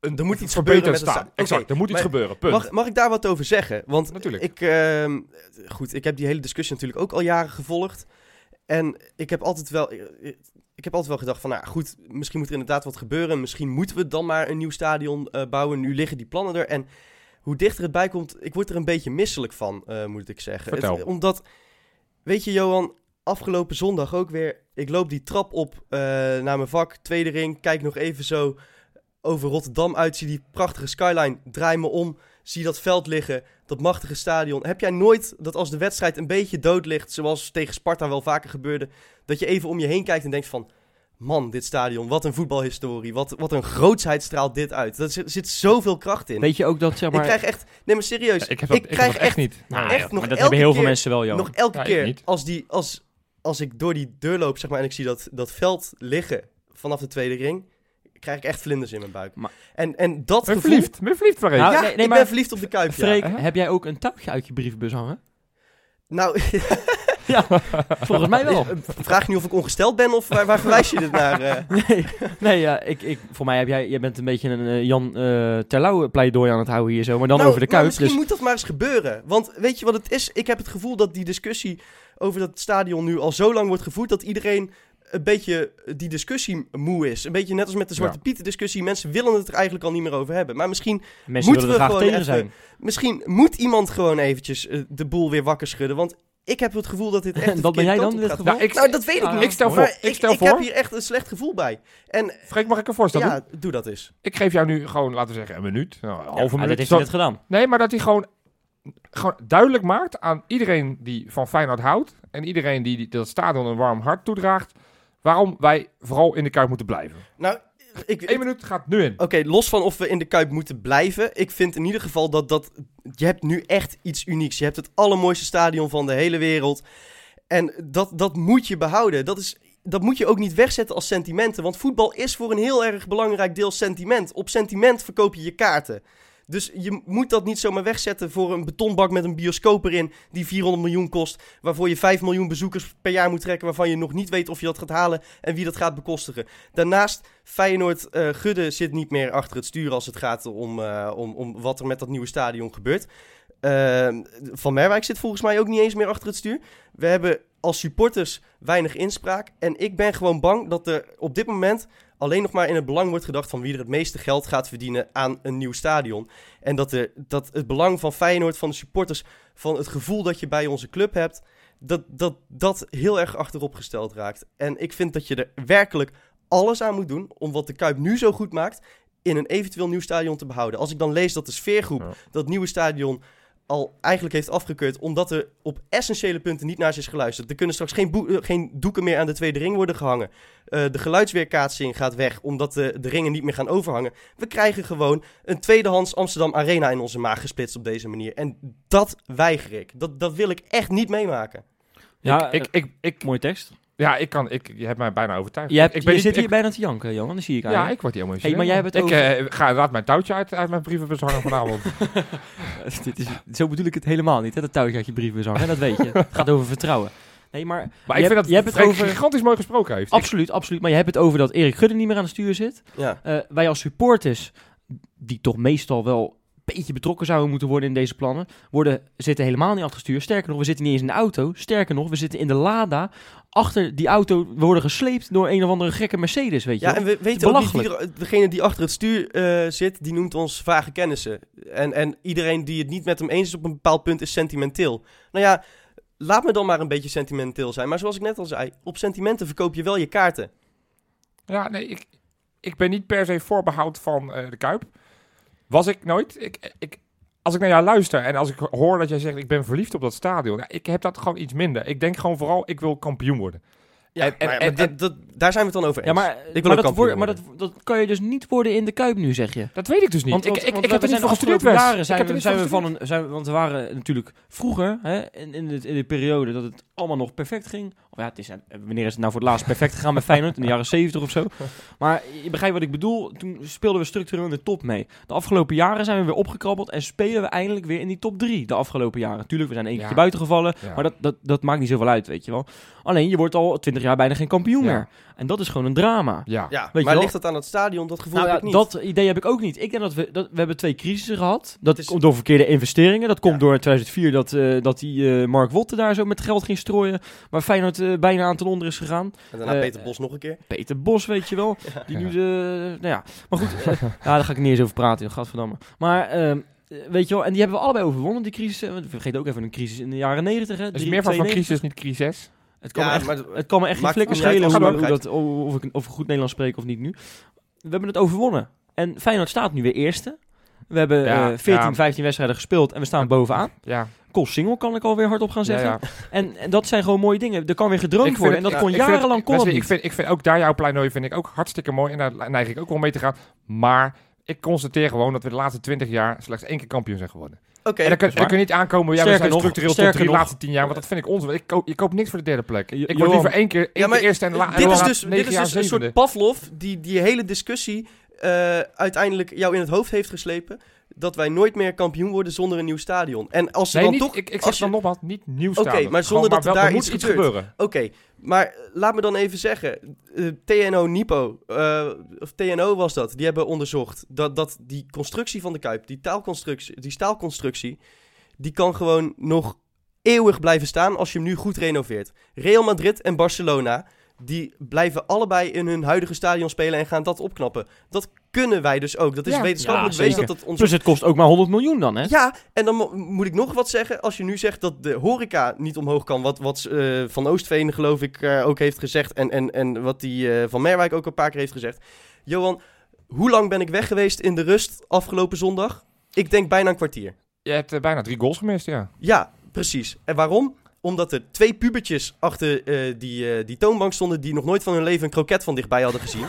Speaker 3: een
Speaker 2: Er moet iets
Speaker 3: verbeterd
Speaker 2: gebeuren met het
Speaker 3: staan.
Speaker 2: sta-
Speaker 3: Exact,
Speaker 2: Oké,
Speaker 3: er moet iets
Speaker 2: maar
Speaker 3: gebeuren. Punt.
Speaker 2: Mag, mag ik daar wat over zeggen? Want
Speaker 3: Natuurlijk.
Speaker 2: Ik, ehm, goed, ik heb die hele discussie natuurlijk ook al jaren gevolgd. En ik heb altijd wel, eh, ik heb altijd wel gedacht van, nou goed, misschien moet er inderdaad wat gebeuren. Misschien moeten we dan maar een nieuw stadion eh, bouwen. Nu liggen die plannen er. En hoe dichter het bij komt, ik word er een beetje misselijk van, eh, moet ik zeggen.
Speaker 3: Vertel.
Speaker 2: Het- omdat, weet je Johan, afgelopen zondag ook weer, ik loop die trap op eh, naar mijn vak, tweede ring, kijk nog even zo over Rotterdam uit, zie die prachtige skyline, draai me om, zie dat veld liggen dat machtige stadion. Heb jij nooit dat als de wedstrijd een beetje dood ligt, zoals tegen Sparta wel vaker gebeurde, dat je even om je heen kijkt en denkt van, man, dit stadion, wat een voetbalhistorie, wat, wat een grootsheid straalt dit uit. Er zit, zit zoveel kracht in.
Speaker 4: Weet je ook dat, zeg maar...
Speaker 2: Ik krijg echt, nee maar serieus,
Speaker 3: Ja, ik heb dat,
Speaker 2: ik
Speaker 3: ik heb
Speaker 2: krijg
Speaker 3: dat
Speaker 2: echt,
Speaker 3: niet.
Speaker 4: Nou,
Speaker 2: echt
Speaker 4: ja,
Speaker 2: nog
Speaker 4: maar dat
Speaker 2: elke
Speaker 4: hebben heel veel
Speaker 2: keer-
Speaker 4: mensen wel, Johan.
Speaker 2: nog elke
Speaker 3: Ja, ik
Speaker 2: keer
Speaker 3: niet.
Speaker 2: als, die, als, als ik door die deur loop, zeg maar, en ik zie dat, dat veld liggen vanaf de tweede ring, krijg ik echt vlinders in mijn buik.
Speaker 4: Maar-
Speaker 2: en, en dat
Speaker 3: Ben
Speaker 2: gevoel...
Speaker 3: verliefd. Ben verliefd maar even.
Speaker 4: Nou,
Speaker 2: Ja,
Speaker 4: nee, nee,
Speaker 2: ik
Speaker 4: maar-
Speaker 2: ben verliefd op de Kuip, ja. Uh-huh.
Speaker 4: Freek,
Speaker 3: hè?
Speaker 4: heb jij ook een touwtje uit je brievenbus hangen?
Speaker 2: Nou,
Speaker 4: Ja, volgens mij wel.
Speaker 2: vraag nu of ik ongesteld ben of waar, waar verwijs je dit naar? eh?
Speaker 4: Nee, nee ja, ik, ik, voor mij heb jij, jij bent een beetje een eh, Jan eh Terlouw pleidooi aan het houden hier zo, maar dan
Speaker 2: Nou,
Speaker 4: over de
Speaker 2: maar
Speaker 4: kuip.
Speaker 2: Misschien
Speaker 4: Dus
Speaker 2: moet dat maar eens gebeuren. Want weet je wat het is? Ik heb het gevoel dat die discussie over dat stadion nu al zo lang wordt gevoerd dat iedereen een beetje die discussie moe is. Een beetje net als met de Zwarte
Speaker 3: Ja.
Speaker 2: Pieten discussie. Mensen willen het er eigenlijk al niet meer over hebben. Maar misschien,
Speaker 4: mensen
Speaker 2: moeten
Speaker 4: willen er
Speaker 2: we
Speaker 4: graag tegen
Speaker 2: gewoon
Speaker 4: zijn.
Speaker 2: misschien moet iemand gewoon eventjes eh, de boel weer wakker schudden. Want ik heb het gevoel dat dit echt de
Speaker 4: En wat ben
Speaker 2: verkeerde
Speaker 4: jij
Speaker 2: kant op
Speaker 4: dan in dit
Speaker 2: gaat.
Speaker 4: geval?
Speaker 3: Nou, ik-
Speaker 2: Nou, dat weet ik
Speaker 4: Ah.
Speaker 2: niet.
Speaker 3: Ik stel
Speaker 2: Maar
Speaker 3: voor. Ik stel
Speaker 2: ik heb
Speaker 3: voor.
Speaker 2: hier echt een slecht gevoel bij. En
Speaker 3: Freek, mag ik een voorstel doen?
Speaker 2: ja, doe dat eens.
Speaker 3: Ik geef jou nu gewoon, laten we zeggen, een minuut. Nou, een
Speaker 4: Ja,
Speaker 3: halve
Speaker 4: maar
Speaker 3: minuut.
Speaker 4: dit heeft
Speaker 3: Zo-
Speaker 4: hij net gedaan.
Speaker 3: Nee, maar dat hij gewoon, gewoon duidelijk maakt aan iedereen die van Feyenoord houdt... en iedereen die, die dat stadion een warm hart toedraagt... waarom wij vooral in de Kuip moeten blijven.
Speaker 2: Nou, ik,
Speaker 3: Eén minuut gaat nu in.
Speaker 2: Oké, los van of we in de Kuip moeten blijven. Ik vind in ieder geval dat, dat... Je hebt nu echt iets unieks. Je hebt het allermooiste stadion van de hele wereld. En dat, dat moet je behouden. Dat, is, dat moet je ook niet wegzetten als sentimenten. Want voetbal is voor een heel erg belangrijk deel sentiment. Op sentiment verkoop je je kaarten. Dus je moet dat niet zomaar wegzetten voor een betonbak met een bioscoop erin... die 400 miljoen kost, waarvoor je 5 miljoen bezoekers per jaar moet trekken... waarvan je nog niet weet of je dat gaat halen en wie dat gaat bekostigen. Daarnaast Feyenoord eh, Gudde zit niet meer achter het stuur als het gaat om, eh, om, om wat er met dat nieuwe stadion gebeurt. Eh, Van Merwijk zit volgens mij ook niet eens meer achter het stuur. We hebben als supporters weinig inspraak. En ik ben gewoon bang dat er op dit moment alleen nog maar in het belang wordt gedacht van wie er het meeste geld gaat verdienen aan een nieuw stadion. En dat, er, dat het belang van Feyenoord, van de supporters, van het gevoel dat je bij onze club hebt, dat dat, dat heel erg achterop gesteld raakt. En ik vind dat je er werkelijk alles aan moet doen om wat de Kuip nu zo goed maakt in een eventueel nieuw stadion te behouden. Als ik dan lees dat de sfeergroep
Speaker 3: Ja.
Speaker 2: dat nieuwe stadion al eigenlijk heeft afgekeurd omdat er op essentiële punten niet naar ze is geluisterd. Er kunnen straks geen, boe- eh, geen doeken meer aan de tweede ring worden gehangen. Eh, de geluidsweerkaatsing gaat weg omdat de, de ringen niet meer gaan overhangen. We krijgen gewoon een tweedehands Amsterdam Arena in onze maag gesplitst op deze manier. En dat weiger ik. Dat, dat wil ik echt niet meemaken.
Speaker 4: Ja, eh,
Speaker 3: ik, ik, ik,
Speaker 4: mooie tekst.
Speaker 3: ja, ik kan... Ik, je hebt mij bijna overtuigd.
Speaker 4: Je, hebt,
Speaker 3: ik
Speaker 4: je
Speaker 3: niet-
Speaker 4: zit hier
Speaker 3: ik-
Speaker 4: bijna te janken, Johan, dat zie ik aan
Speaker 3: Ja,
Speaker 4: je.
Speaker 3: ik word hier emotioneel.
Speaker 4: Hey, maar jij hebt het
Speaker 3: ik eh, ga inderdaad mijn touwtje uit, uit mijn brievenbus hangen vanavond.
Speaker 4: Dit is, zo bedoel ik het helemaal niet, hè, dat touwtje uit je brievenbus hangen, dat weet je. Het gaat over vertrouwen. Nee, maar
Speaker 3: maar
Speaker 4: Je
Speaker 3: ik
Speaker 4: hebt-
Speaker 3: vind dat
Speaker 4: je hebt het
Speaker 3: Freek
Speaker 4: over-
Speaker 3: gigantisch mooi gesproken heeft. Ik-
Speaker 4: absoluut, absoluut. Maar je hebt het over dat Erik Gudde niet meer aan het stuur zit.
Speaker 2: Ja.
Speaker 4: Eh, wij als supporters, die toch meestal wel een beetje betrokken zouden moeten worden in deze plannen, worden, zitten helemaal niet achter het stuur. Sterker nog, we zitten niet eens in de auto. Sterker nog, we zitten in de Lada. Achter die auto we worden gesleept door een of andere gekke Mercedes, weet je
Speaker 2: Ja,
Speaker 4: wel.
Speaker 2: en we weten ook niet wie
Speaker 4: belachelijk.
Speaker 2: er- degene die achter het stuur eh, zit, die noemt ons vage kennissen. En, en iedereen die het niet met hem eens is op een bepaald punt is sentimenteel. Nou ja, laat me dan maar een beetje sentimenteel zijn. Maar zoals ik net al zei, op sentimenten verkoop je wel je kaarten.
Speaker 3: Ja, nee, ik, ik ben niet per se voorbehoud van eh, de Kuip. Was ik nooit. Ik, ik, als ik naar jou luister en als ik hoor dat jij zegt ik ben verliefd op dat stadion. ja, ik heb dat gewoon iets minder. Ik denk gewoon vooral ik wil kampioen worden.
Speaker 2: Ja,
Speaker 3: En- en-
Speaker 2: maar,
Speaker 3: en-
Speaker 2: maar dat- dat- daar zijn we het dan over eens.
Speaker 4: Ja, maar,
Speaker 2: wil
Speaker 4: maar,
Speaker 2: ook
Speaker 4: dat,
Speaker 2: kampioen
Speaker 4: wordt- maar dat, dat kan je dus niet worden in de Kuip nu, zeg je.
Speaker 3: Dat weet ik dus niet.
Speaker 4: Want,
Speaker 3: ik,
Speaker 4: want-
Speaker 3: ik,
Speaker 4: want
Speaker 3: ik heb
Speaker 4: we
Speaker 3: er niet
Speaker 4: zijn
Speaker 3: voor
Speaker 4: de afgelopen
Speaker 3: gestudeerd, Wes.
Speaker 4: jaren
Speaker 3: Ik
Speaker 4: zijn,
Speaker 3: heb er
Speaker 4: we,
Speaker 3: niet
Speaker 4: zijn
Speaker 3: voor
Speaker 4: we van een, zijn, we- want we waren natuurlijk vroeger, hè, in, in, de, in de periode dat het allemaal nog perfect ging. Of ja, het is, eh, wanneer is het nou voor het laatst perfect gegaan met Feyenoord? In de jaren 70 of zo. Maar je begrijpt wat ik bedoel. Toen speelden we structureel in de top mee. De afgelopen jaren zijn we weer opgekrabbeld en spelen we eindelijk weer in die top 3 de afgelopen jaren. Tuurlijk, we zijn één
Speaker 3: Ja.
Speaker 4: keer buitengevallen,
Speaker 3: Ja.
Speaker 4: maar dat, dat, dat maakt niet zoveel uit, weet je wel. Alleen, je wordt al 20 jaar bijna geen kampioen
Speaker 3: Ja.
Speaker 4: meer. En dat is gewoon een drama.
Speaker 3: Ja.
Speaker 2: Ja,
Speaker 4: je
Speaker 2: maar
Speaker 4: wel?
Speaker 2: ligt dat aan het stadion? Dat gevoel
Speaker 4: Nou
Speaker 2: heb
Speaker 4: ja,
Speaker 2: ik niet.
Speaker 4: dat idee heb ik ook niet. Ik denk dat we, dat, we hebben twee crisissen gehad. Dat
Speaker 2: Het is-
Speaker 4: komt door verkeerde investeringen. Dat komt
Speaker 2: Ja.
Speaker 4: door in 2004 dat, eh, dat die eh, Mark Wotte daar zo met geld ging strooien. Waar Feyenoord eh, bijna aan ten onder is gegaan.
Speaker 2: En daarna
Speaker 4: eh,
Speaker 2: Peter Bos nog een keer.
Speaker 4: Peter Bos, weet je wel. Die nu de... Nou ja, maar goed. eh, ja, daar ga ik niet eens over praten, joh, gadverdamme. Maar... ehm, eh, Weet je wel, en die hebben we allebei overwonnen, die crisis. Eh, want Vergeet ook even een crisis in de jaren negentig.
Speaker 3: Het is meer van, van crisis, niet crisis.
Speaker 4: Het kan
Speaker 2: Ja,
Speaker 4: echt
Speaker 2: maar
Speaker 4: het kan me echt geen
Speaker 2: Maakt
Speaker 4: flikker
Speaker 2: niet uit,
Speaker 4: schelen hoe,
Speaker 2: als het
Speaker 4: hoe dat, of, ik, of ik goed Nederlands spreek of niet nu. We hebben het overwonnen. En Feyenoord staat nu weer eerste. We hebben
Speaker 3: Ja,
Speaker 4: eh, 14,
Speaker 3: ja.
Speaker 4: 15 wedstrijden gespeeld en we staan bovenaan.
Speaker 3: Ja.
Speaker 4: Kool Single kan ik alweer hardop gaan
Speaker 3: ja,
Speaker 4: zeggen.
Speaker 3: ja.
Speaker 4: En, en dat zijn gewoon mooie dingen. Er kan weer gedroomd
Speaker 3: vind
Speaker 4: worden.
Speaker 3: het-
Speaker 4: en dat
Speaker 2: ja,
Speaker 4: kon
Speaker 3: Ik vind het-
Speaker 4: jarenlang kon het
Speaker 3: Wesley,
Speaker 4: niet.
Speaker 3: ik vind, ik vind ook daar jouw pleidooi vind ik ook hartstikke mooi. En daar neig ik ook wel mee te gaan. Maar ik constateer gewoon dat we de laatste 20 jaar slechts één keer kampioen zijn geworden.
Speaker 2: Oké,
Speaker 3: En dan
Speaker 2: Dus-
Speaker 3: kun,
Speaker 4: dat is waar.
Speaker 3: dan kun je niet aankomen, ja, we
Speaker 4: Sterker
Speaker 3: zijn
Speaker 4: nog,
Speaker 3: structureel top
Speaker 4: sterker
Speaker 3: 3 de
Speaker 4: nog.
Speaker 3: laatste tien jaar, want dat vind ik onzin. Ik koop, je koopt niks voor de derde plek.
Speaker 4: Jo-
Speaker 3: Ik word
Speaker 4: Johan.
Speaker 3: liever één keer, één
Speaker 2: Ja, maar
Speaker 3: keer eerste en, la, en
Speaker 2: dit is
Speaker 3: laat
Speaker 2: dus,
Speaker 3: negen
Speaker 2: dit is
Speaker 3: jaar
Speaker 2: dus een
Speaker 3: zevende.
Speaker 2: soort Pavlov die die hele discussie eh, uiteindelijk jou in het hoofd heeft geslepen. Dat wij nooit meer kampioen worden zonder een nieuw stadion. En als ze
Speaker 3: Nee,
Speaker 2: dan
Speaker 3: niet,
Speaker 2: toch...
Speaker 3: ik, ik
Speaker 2: als
Speaker 3: zeg dan nogmaals, niet nieuw
Speaker 2: Oké,
Speaker 3: staan.
Speaker 2: maar zonder dat er
Speaker 3: wel,
Speaker 2: daar
Speaker 3: moet
Speaker 2: iets
Speaker 3: iets
Speaker 2: gebeurt.
Speaker 3: gebeuren.
Speaker 2: Oké, maar eh, laat me dan even zeggen. eh, TNO Nipo, eh, of TNO was dat, die hebben onderzocht dat, dat die constructie van de Kuip, die, taalconstructie, die staalconstructie, die kan gewoon nog eeuwig blijven staan als je hem nu goed renoveert. Real Madrid en Barcelona, die blijven allebei in hun huidige stadion spelen en gaan dat opknappen. Dat kunnen wij dus ook. Dat is
Speaker 3: Ja.
Speaker 2: wetenschappelijk
Speaker 4: Ja,
Speaker 2: bewezen
Speaker 4: zeker.
Speaker 2: dat dat ons
Speaker 4: Plus het kost ook maar 100 miljoen dan, hè?
Speaker 2: ja, en dan mo- moet ik nog wat zeggen. Als je nu zegt dat de horeca niet omhoog kan, wat, wat eh, Van Oostveen geloof ik eh, ook heeft gezegd en, en, en wat die eh, Van Merwijk ook een paar keer heeft gezegd. Johan, hoe lang ben ik weg geweest in de rust afgelopen zondag? Ik denk bijna een kwartier.
Speaker 3: Je hebt eh, bijna drie goals gemist, ja.
Speaker 2: Ja, precies. En waarom? Omdat er twee pubertjes achter eh, die, eh, die toonbank stonden die nog nooit van hun leven een kroket van dichtbij hadden gezien.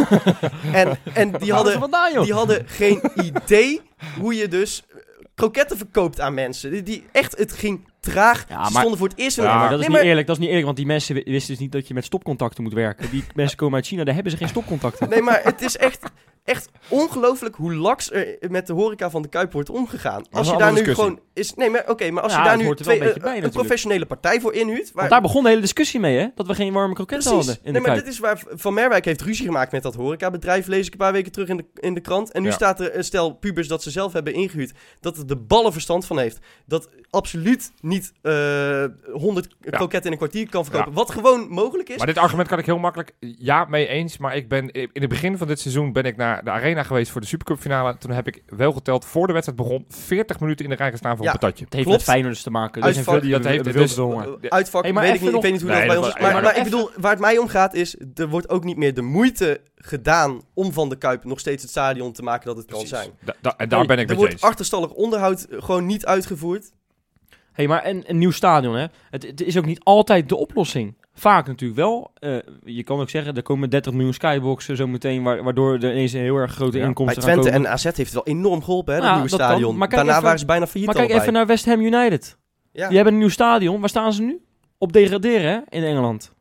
Speaker 2: en, en die hadden
Speaker 4: vandaan, joh?
Speaker 2: die hadden geen idee hoe je dus eh, kroketten verkoopt aan mensen. Die, die- echt, het ging traag.
Speaker 4: Ja,
Speaker 2: Ze
Speaker 4: maar-
Speaker 2: stonden voor het eerst... in-
Speaker 4: Ja, maar dat is
Speaker 2: Nee, maar-
Speaker 4: niet eerlijk, dat is niet eerlijk, want die mensen wi- wisten dus niet dat je met stopcontacten moet werken. Die mensen komen uit China, daar hebben ze geen stopcontacten.
Speaker 2: Nee, maar het is echt, echt ongelooflijk hoe laks er met de horeca van de Kuip wordt omgegaan. Als je
Speaker 3: een
Speaker 2: daar nu
Speaker 3: andere discussie.
Speaker 2: gewoon... Is, nee, maar oké, maar als
Speaker 4: Ja,
Speaker 2: je daar
Speaker 4: dat
Speaker 2: nu
Speaker 4: hoort er wel
Speaker 2: twee-
Speaker 4: een beetje
Speaker 2: eh,
Speaker 4: bij
Speaker 2: een
Speaker 4: natuurlijk.
Speaker 2: professionele partij voor inhuurt... Waar,
Speaker 4: Want daar begon de hele discussie mee, hè? Dat we geen warme kroketten hadden in
Speaker 2: nee,
Speaker 4: de
Speaker 2: maar
Speaker 4: Kuip.
Speaker 2: dit is waar V- Van Merwijk heeft ruzie gemaakt met dat horecabedrijf. Lees ik een paar weken terug in de, in de krant. En nu
Speaker 3: Ja.
Speaker 2: staat er een stel pubers dat ze zelf hebben ingehuurd. Dat het de ballen verstand van heeft. Dat absoluut niet eh 100 kroketten in een kwartier kan verkopen. Wat gewoon mogelijk is.
Speaker 3: Maar dit argument kan ik heel makkelijk ja mee eens. Maar ik ben, in het begin van dit seizoen ben ik naar de arena geweest voor de Supercup finale. Toen heb ik wel geteld, voor de wedstrijd begon, 40 minuten in de rij gestaan voor
Speaker 2: Ja.
Speaker 3: een patatje.
Speaker 4: Het heeft
Speaker 2: Klopt.
Speaker 4: met Feyenoord dus te maken.
Speaker 2: Uitvak-
Speaker 4: Er zijn veel die
Speaker 3: dat
Speaker 4: hebben-
Speaker 3: heeft-
Speaker 4: hebben
Speaker 3: dus-
Speaker 4: wilde honger.
Speaker 2: Eh, Uitvak,
Speaker 4: Hey, maar
Speaker 2: weet ik
Speaker 4: even
Speaker 2: niet, ik weet
Speaker 4: nog-
Speaker 2: niet hoe
Speaker 3: Nee,
Speaker 2: dat bij
Speaker 3: dat
Speaker 2: ons is.
Speaker 3: was-
Speaker 2: Maar,
Speaker 3: ja,
Speaker 2: maar,
Speaker 3: maar
Speaker 2: ik bedoel, waar het mij om gaat is... er wordt ook niet meer de moeite gedaan... om van de Kuip nog steeds het stadion te maken dat het
Speaker 3: Precies.
Speaker 2: kan zijn.
Speaker 3: Da- da- en daar ben ik
Speaker 2: er
Speaker 3: met je
Speaker 2: wordt
Speaker 3: eens.
Speaker 2: achterstallig onderhoud eh, gewoon niet uitgevoerd.
Speaker 4: hey, maar een, een nieuw stadion, hè? Het, het is ook niet altijd de oplossing. Vaak natuurlijk wel. Eh, je kan ook zeggen, er komen 30 miljoen skyboxen zo meteen, wa- waardoor er ineens een heel erg grote
Speaker 3: Ja,
Speaker 2: Bij
Speaker 4: inkomsten gaan
Speaker 2: Twente
Speaker 4: komen.
Speaker 2: en AZ heeft het wel enorm geholpen, hè, dat
Speaker 4: Ja,
Speaker 2: nieuwe
Speaker 4: dat kan.
Speaker 2: stadion.
Speaker 4: Maar kijk
Speaker 2: Daarna
Speaker 4: even-
Speaker 2: waren ze bijna failliet
Speaker 4: Maar kijk
Speaker 2: allebei.
Speaker 4: even naar West Ham United.
Speaker 2: Ja.
Speaker 4: Die hebben een nieuw stadion. Waar staan ze nu? Op degraderen, hè? In Engeland.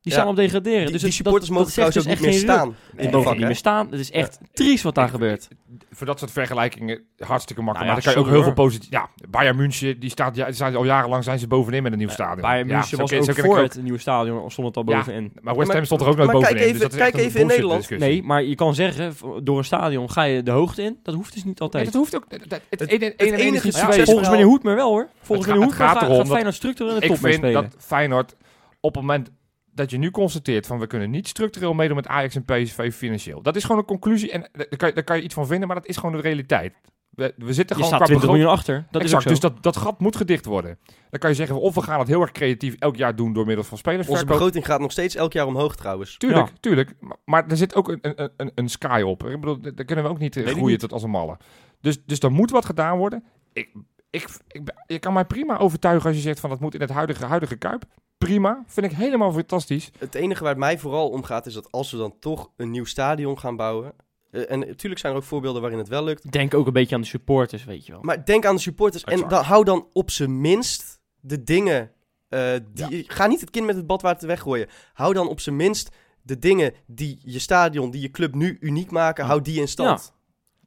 Speaker 4: Die
Speaker 2: Ja.
Speaker 4: staan op degraderen.
Speaker 2: Die,
Speaker 4: dus
Speaker 2: die
Speaker 4: het-
Speaker 2: supporters
Speaker 4: dat,
Speaker 2: mogen
Speaker 4: dat zegt
Speaker 2: trouwens ook niet
Speaker 4: dus
Speaker 2: meer
Speaker 4: echt geen
Speaker 2: staan
Speaker 4: reuk.
Speaker 2: in
Speaker 4: Nee,
Speaker 2: dat
Speaker 4: mogen
Speaker 2: vak,
Speaker 4: niet
Speaker 2: hè?
Speaker 4: meer staan. Het is echt triest wat daar gebeurt.
Speaker 3: Voor dat soort vergelijkingen hartstikke makkelijk.
Speaker 4: Nou ja,
Speaker 3: maar dan kan je ook heel
Speaker 4: sorry
Speaker 3: veel positief... Ja, Bayern München, die staat, ja, die staat al jarenlang zijn ze bovenin met een nieuw stadion.
Speaker 4: Eh, Bayern
Speaker 3: Ja,
Speaker 4: München
Speaker 3: zo
Speaker 4: was
Speaker 3: ken- zo
Speaker 4: ook
Speaker 3: ken ik
Speaker 4: voor het nieuwe stadion. Of stond het al
Speaker 3: Ja.
Speaker 4: bovenin.
Speaker 3: Maar West
Speaker 2: Maar-
Speaker 3: Ham stond er ook nooit
Speaker 2: maar kijk
Speaker 3: bovenin.
Speaker 2: even-
Speaker 3: dus dat is
Speaker 2: kijk
Speaker 3: echt een
Speaker 2: even in
Speaker 3: bullshit
Speaker 2: Nederland.
Speaker 3: discussie.
Speaker 4: Nee, maar je kan zeggen, v- door een stadion ga je de hoogte in. Dat hoeft dus niet
Speaker 3: Nee,
Speaker 4: altijd.
Speaker 3: dat hoeft dus ook. dat- dat- Het,
Speaker 2: Het-
Speaker 3: het,
Speaker 2: enige succes-
Speaker 3: twee.
Speaker 2: is
Speaker 4: Volgens
Speaker 2: wel-
Speaker 4: meneer Hoed maar wel hoor. Volgens
Speaker 3: Het
Speaker 4: meneer
Speaker 3: ga-
Speaker 4: Hoed
Speaker 3: het gaat
Speaker 4: gaat,
Speaker 3: erom
Speaker 4: gaat
Speaker 3: dat-
Speaker 4: Feyenoord structureel in de
Speaker 3: Ik
Speaker 4: top mee
Speaker 3: vind
Speaker 4: spelen.
Speaker 3: dat Feyenoord op het moment dat je nu constateert van we kunnen niet structureel meedoen met Ajax en PSV financieel. Dat is gewoon een conclusie en eh, daar kan, je- daar kan je iets van vinden, maar dat is gewoon de realiteit. We, we zitten
Speaker 4: Je
Speaker 3: gewoon
Speaker 4: staat 20
Speaker 3: begroting-
Speaker 4: miljoen achter. Dat is ook
Speaker 3: exact,
Speaker 4: zo.
Speaker 3: dus dat, dat gat moet gedicht worden. Dan kan je zeggen of we gaan het heel erg creatief elk jaar doen door middel van
Speaker 2: Onze
Speaker 3: spelersverkoop.
Speaker 2: begroting gaat nog steeds elk jaar omhoog trouwens.
Speaker 3: Tuurlijk,
Speaker 4: Ja.
Speaker 3: tuurlijk. Maar, maar er zit ook een, een, een, een sky op. Ik bedoel, daar daar kunnen we ook niet eh,
Speaker 4: Weet ik
Speaker 3: groeien
Speaker 4: niet.
Speaker 3: tot als een malle. Dus, dus er moet wat gedaan worden. Ik, ik, ik, ben- je kan mij prima overtuigen als je zegt van dat moet in het huidige, huidige Kuip. Prima, vind ik helemaal fantastisch.
Speaker 2: Het enige waar het mij vooral om gaat is dat als we dan toch een nieuw stadion gaan bouwen... eh, en natuurlijk zijn er ook voorbeelden waarin het wel lukt.
Speaker 4: Denk ook een beetje aan de supporters, weet je wel.
Speaker 2: Maar denk aan de supporters en
Speaker 3: Exact.
Speaker 2: dan, hou dan op zijn minst de dingen... eh, die, Ga niet het kind met het badwater weggooien. Hou dan op zijn minst de dingen die je stadion, die je club nu uniek maken, hou die in stand.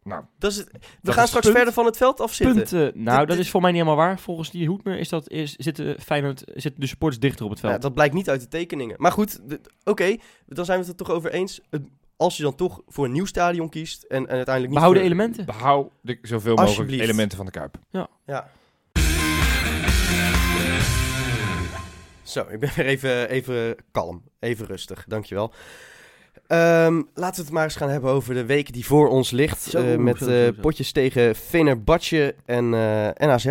Speaker 3: Nou,
Speaker 2: Dat is het. We
Speaker 3: dat
Speaker 2: gaan
Speaker 3: is
Speaker 2: straks
Speaker 3: punt.
Speaker 2: verder van het veld afzitten.
Speaker 4: Punten. Nou,
Speaker 2: Dit-
Speaker 4: dat
Speaker 2: dit-
Speaker 4: is voor mij niet helemaal waar. Volgens die Hoedmer is dat, is, zitten, Feyenoord, zitten de supporters dichter op het
Speaker 2: Ja,
Speaker 4: veld.
Speaker 2: dat blijkt niet uit de tekeningen. Maar goed, de- oké, dan zijn we het er toch over eens. Het- Als je dan toch voor een nieuw stadion kiest en, en uiteindelijk niet
Speaker 4: Behouden
Speaker 2: voor-
Speaker 4: elementen.
Speaker 3: Behoud de, zoveel mogelijk
Speaker 2: Alsjeblieft.
Speaker 3: elementen van de Kuip.
Speaker 2: Ja. Zo, ik ben weer even, even kalm. Even rustig, dankjewel. Ehm, laten we het maar eens gaan hebben over de week die voor ons ligt.
Speaker 4: Zo,
Speaker 2: eh, met
Speaker 4: zo,
Speaker 2: eh,
Speaker 4: zo, zo.
Speaker 2: potjes tegen Fenerbahce en, eh en AZ.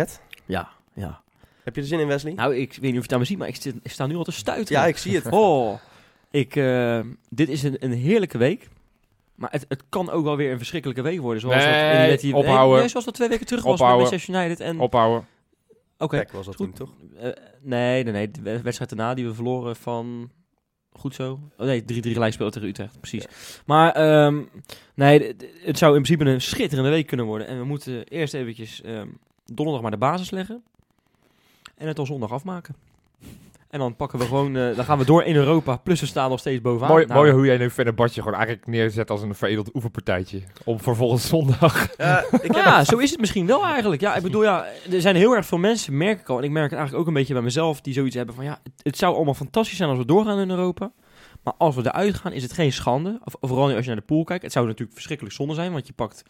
Speaker 4: Ja, ja.
Speaker 2: Heb je er zin in, Wesley?
Speaker 4: Nou, ik weet niet of je het aan me ziet, maar ik, zit, ik sta nu al te stuiten.
Speaker 2: ja, ik zie het.
Speaker 4: Oh, ik, eh, dit is een, een heerlijke week. Maar het, het kan ook wel weer een verschrikkelijke week worden. Zoals dat
Speaker 3: Nee,
Speaker 4: met die,
Speaker 3: ophouden.
Speaker 4: nee, zoals dat twee weken terug was met
Speaker 3: Ophouden.
Speaker 4: Manchester United. En,
Speaker 3: Ophouden.
Speaker 4: Oké,
Speaker 2: Kijk, was dat toen
Speaker 4: goed.
Speaker 2: toch?
Speaker 4: eh, nee, nee, nee. De wed- wedstrijd daarna die we verloren van... Goed zo. Oh nee, 3-3 gelijkspel tegen Utrecht. Precies. Maar ehm, nee, d- d- het zou in principe een schitterende week kunnen worden. En we moeten eerst eventjes ehm, donderdag maar de basis leggen. En het al zondag afmaken. En dan pakken we gewoon, eh, dan gaan we door in Europa. Plus we staan nog steeds bovenaan.
Speaker 3: Mooi,
Speaker 4: Nou,
Speaker 3: mooi hoe jij nu verder Bartje gewoon eigenlijk neerzet als een veredeld oefenpartijtje. Om vervolgens zondag.
Speaker 2: Ja, ik heb
Speaker 4: Nou ja, zo is het misschien wel eigenlijk. Ja, ik bedoel, ja, er zijn heel erg veel mensen, merk ik al. En ik merk het eigenlijk ook een beetje bij mezelf, die zoiets hebben van... Ja, het, het zou allemaal fantastisch zijn als we doorgaan in Europa. Maar als we eruit gaan, is het geen schande. Of, vooral niet als je naar de pool kijkt. Het zou natuurlijk verschrikkelijk zonde zijn, want je pakt...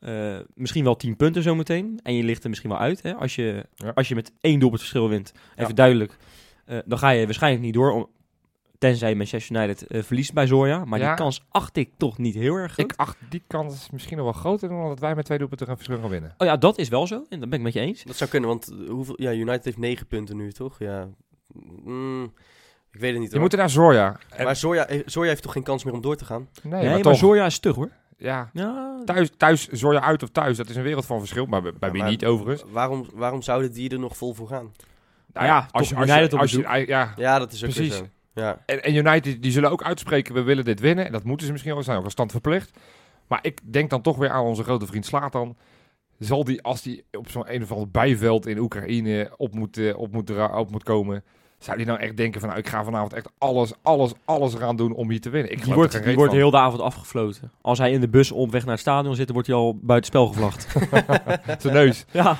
Speaker 4: eh, misschien wel 10 punten zometeen. En je ligt er misschien wel uit. Hè? Als, je,
Speaker 3: Ja.
Speaker 4: als je met één doelpunt verschil wint, even
Speaker 3: Ja.
Speaker 4: duidelijk. eh, dan ga je waarschijnlijk niet door. om- tenzij Manchester United eh, verliest bij Zoya. Maar
Speaker 3: Ja.
Speaker 4: die kans acht ik toch niet heel erg. groot.
Speaker 3: Ik acht die kans misschien nog wel groter dan dat wij met twee doelpunten gaan verschil gaan winnen.
Speaker 4: Oh ja, dat is wel zo. En dat ben ik met je eens.
Speaker 2: Dat zou kunnen, want eh, hoeveel, ja, United heeft 9 punten nu, toch? Ja. Mm, ik weet het niet
Speaker 3: Je
Speaker 2: hoor.
Speaker 3: moet er naar Zorja. En-
Speaker 2: Maar Zorja, eh, Zorja heeft toch geen kans meer om door te gaan?
Speaker 3: nee,
Speaker 4: Nee,
Speaker 3: maar,
Speaker 4: maar
Speaker 3: toch.
Speaker 4: Zorja is stug hoor.
Speaker 3: Ja,
Speaker 4: Ja,
Speaker 3: thuis, thuis, Zorja uit of thuis, dat is een wereld van verschil. Maar bij, bij
Speaker 2: Ja,
Speaker 3: wie
Speaker 2: maar-
Speaker 3: niet overigens.
Speaker 2: Waarom, waarom zouden die er nog vol voor gaan?
Speaker 4: Nou ja,
Speaker 3: als je,
Speaker 4: toch
Speaker 3: als
Speaker 4: United
Speaker 3: je,
Speaker 4: op
Speaker 3: als je,
Speaker 4: bezoek.
Speaker 3: ei- ja.
Speaker 2: Ja, dat is ook weer
Speaker 3: Precies.
Speaker 2: zo. Ja.
Speaker 3: En, en United die zullen ook uitspreken, we willen dit winnen. En dat moeten ze misschien wel, ze zijn ook een stand verplicht. Maar ik denk dan toch weer aan onze grote vriend Slatan. Zal die, als die op zo'n een of ander bijveld in Oekraïne op moet, eh, op moet, dra- op moet komen... Zou die nou echt denken van, nou, ik ga vanavond echt alles, alles, alles eraan doen om hier te winnen. Ik
Speaker 4: Die
Speaker 3: geloof er
Speaker 4: wordt,
Speaker 3: geen
Speaker 4: die
Speaker 3: reet
Speaker 4: wordt
Speaker 3: van.
Speaker 4: heel de avond afgefloten. Als hij in de bus op weg naar het stadion zit, dan wordt hij al buitenspel gevlacht.
Speaker 3: Zijn neus.
Speaker 4: ja.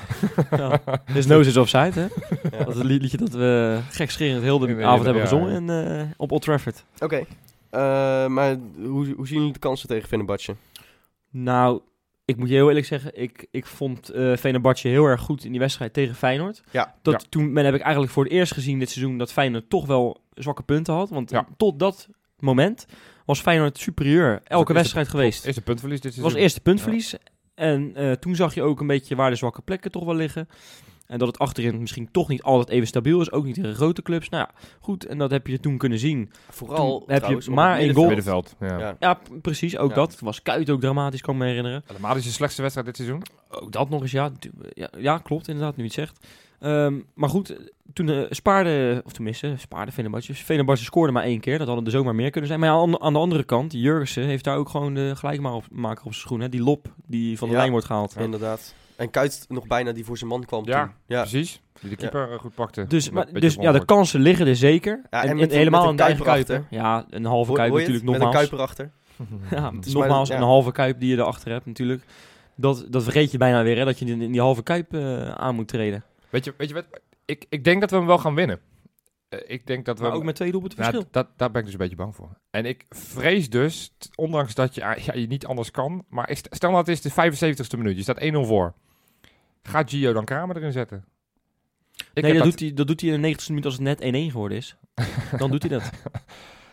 Speaker 4: ja. Dus Nose is offside, hè?
Speaker 2: Ja.
Speaker 4: Dat is het lied- liedje dat we gekscherend heel de
Speaker 3: In de
Speaker 4: avond
Speaker 3: hele-
Speaker 4: hebben
Speaker 3: ja,
Speaker 4: gezongen in, eh, op Old Trafford.
Speaker 2: Oké. Eh, maar hoe, hoe zien jullie de kansen tegen Fenerbahce?
Speaker 4: Nou, ik moet je heel eerlijk zeggen, ik, ik vond eh Fenerbahce heel erg goed in die wedstrijd tegen Feyenoord.
Speaker 2: Ja,
Speaker 4: Dat, Toen ben, heb ik eigenlijk voor het eerst gezien dit seizoen dat Feyenoord toch wel zwakke punten had. Want
Speaker 3: Ja.
Speaker 4: tot dat moment was Feyenoord superieur elke
Speaker 3: het
Speaker 4: wedstrijd geweest.
Speaker 3: Is een puntverlies dit
Speaker 4: Het was
Speaker 3: seizoen.
Speaker 4: eerst de puntverlies. En eh, toen zag je ook een beetje waar de zwakke plekken toch wel liggen. En dat het achterin misschien toch niet altijd even stabiel is. Ook niet tegen grote clubs. Nou ja, goed. En dat heb je toen kunnen zien.
Speaker 2: Vooral
Speaker 4: Toen heb je
Speaker 2: trouwens, op
Speaker 4: maar
Speaker 2: het
Speaker 4: één
Speaker 2: middenveld.
Speaker 4: goal.
Speaker 3: Middenveld, ja.
Speaker 2: Ja.
Speaker 4: Ja, p- precies. Ook
Speaker 2: Ja.
Speaker 4: dat. Toen Was Kuit ook dramatisch, kan ik me herinneren.
Speaker 3: Helemaal is de slechtste wedstrijd dit seizoen.
Speaker 4: Ook dat nog eens, ja. Tu- Ja, ja klopt inderdaad, nu je het zegt. Ehm, maar goed, toen eh, spaarde, of tenminste, spaarde Fenerbahce. Fenerbahce scoorde maar één keer. Dat hadden er zomaar meer kunnen zijn. Maar ja, aan, aan de andere kant, Jurgensen heeft daar ook gewoon de gelijkmaker op zijn schoen. Hè? Die lop die van de
Speaker 2: Ja.
Speaker 4: lijn wordt gehaald.
Speaker 2: Ja, Inderdaad. En Kuit nog bijna die voor zijn man kwam
Speaker 3: Ja.
Speaker 2: toen. Ja.
Speaker 3: Precies. Die de keeper eh, goed pakte.
Speaker 4: Dus,
Speaker 3: Met
Speaker 4: maar,
Speaker 3: een beetje
Speaker 4: dus ja, de
Speaker 3: ongeluk.
Speaker 4: kansen liggen er zeker.
Speaker 2: Ja,
Speaker 4: en
Speaker 2: en
Speaker 4: en
Speaker 2: met-
Speaker 4: helemaal
Speaker 2: met
Speaker 4: een
Speaker 2: een
Speaker 4: eigen
Speaker 2: Kuiper
Speaker 4: kuiper. Ja, een halve
Speaker 2: Hoor-
Speaker 4: kuip
Speaker 2: hoor je het?
Speaker 4: natuurlijk
Speaker 2: Met een
Speaker 4: nogmaals.
Speaker 2: Kuiper achter.
Speaker 4: Ja,
Speaker 2: is maar-
Speaker 4: nogmaals,
Speaker 2: ja.
Speaker 4: een halve kuip die je erachter hebt natuurlijk. Dat, dat vergeet je bijna weer, hè, dat je in in die halve kuip eh, aan moet treden.
Speaker 3: Weet je, weet je wat? Ik, ik denk dat we hem wel gaan winnen. Eh, ik denk dat we
Speaker 4: Maar
Speaker 3: hem-
Speaker 4: ook met twee doelpunten
Speaker 3: Nou,
Speaker 4: verschil.
Speaker 3: dat, daar ben ik dus een beetje bang voor. En ik vrees dus, t- ondanks dat je, ah, ja, je niet anders kan, maar ik st- stel dat het is de 75ste minuut, je staat 1-0 voor. Gaat Gio dan Kramer erin zetten? Ik
Speaker 4: nee,
Speaker 3: heb
Speaker 4: dat, Doet hij, dat doet hij in de 90ste minuut als het net 1-1 geworden is. Dan doet hij dat.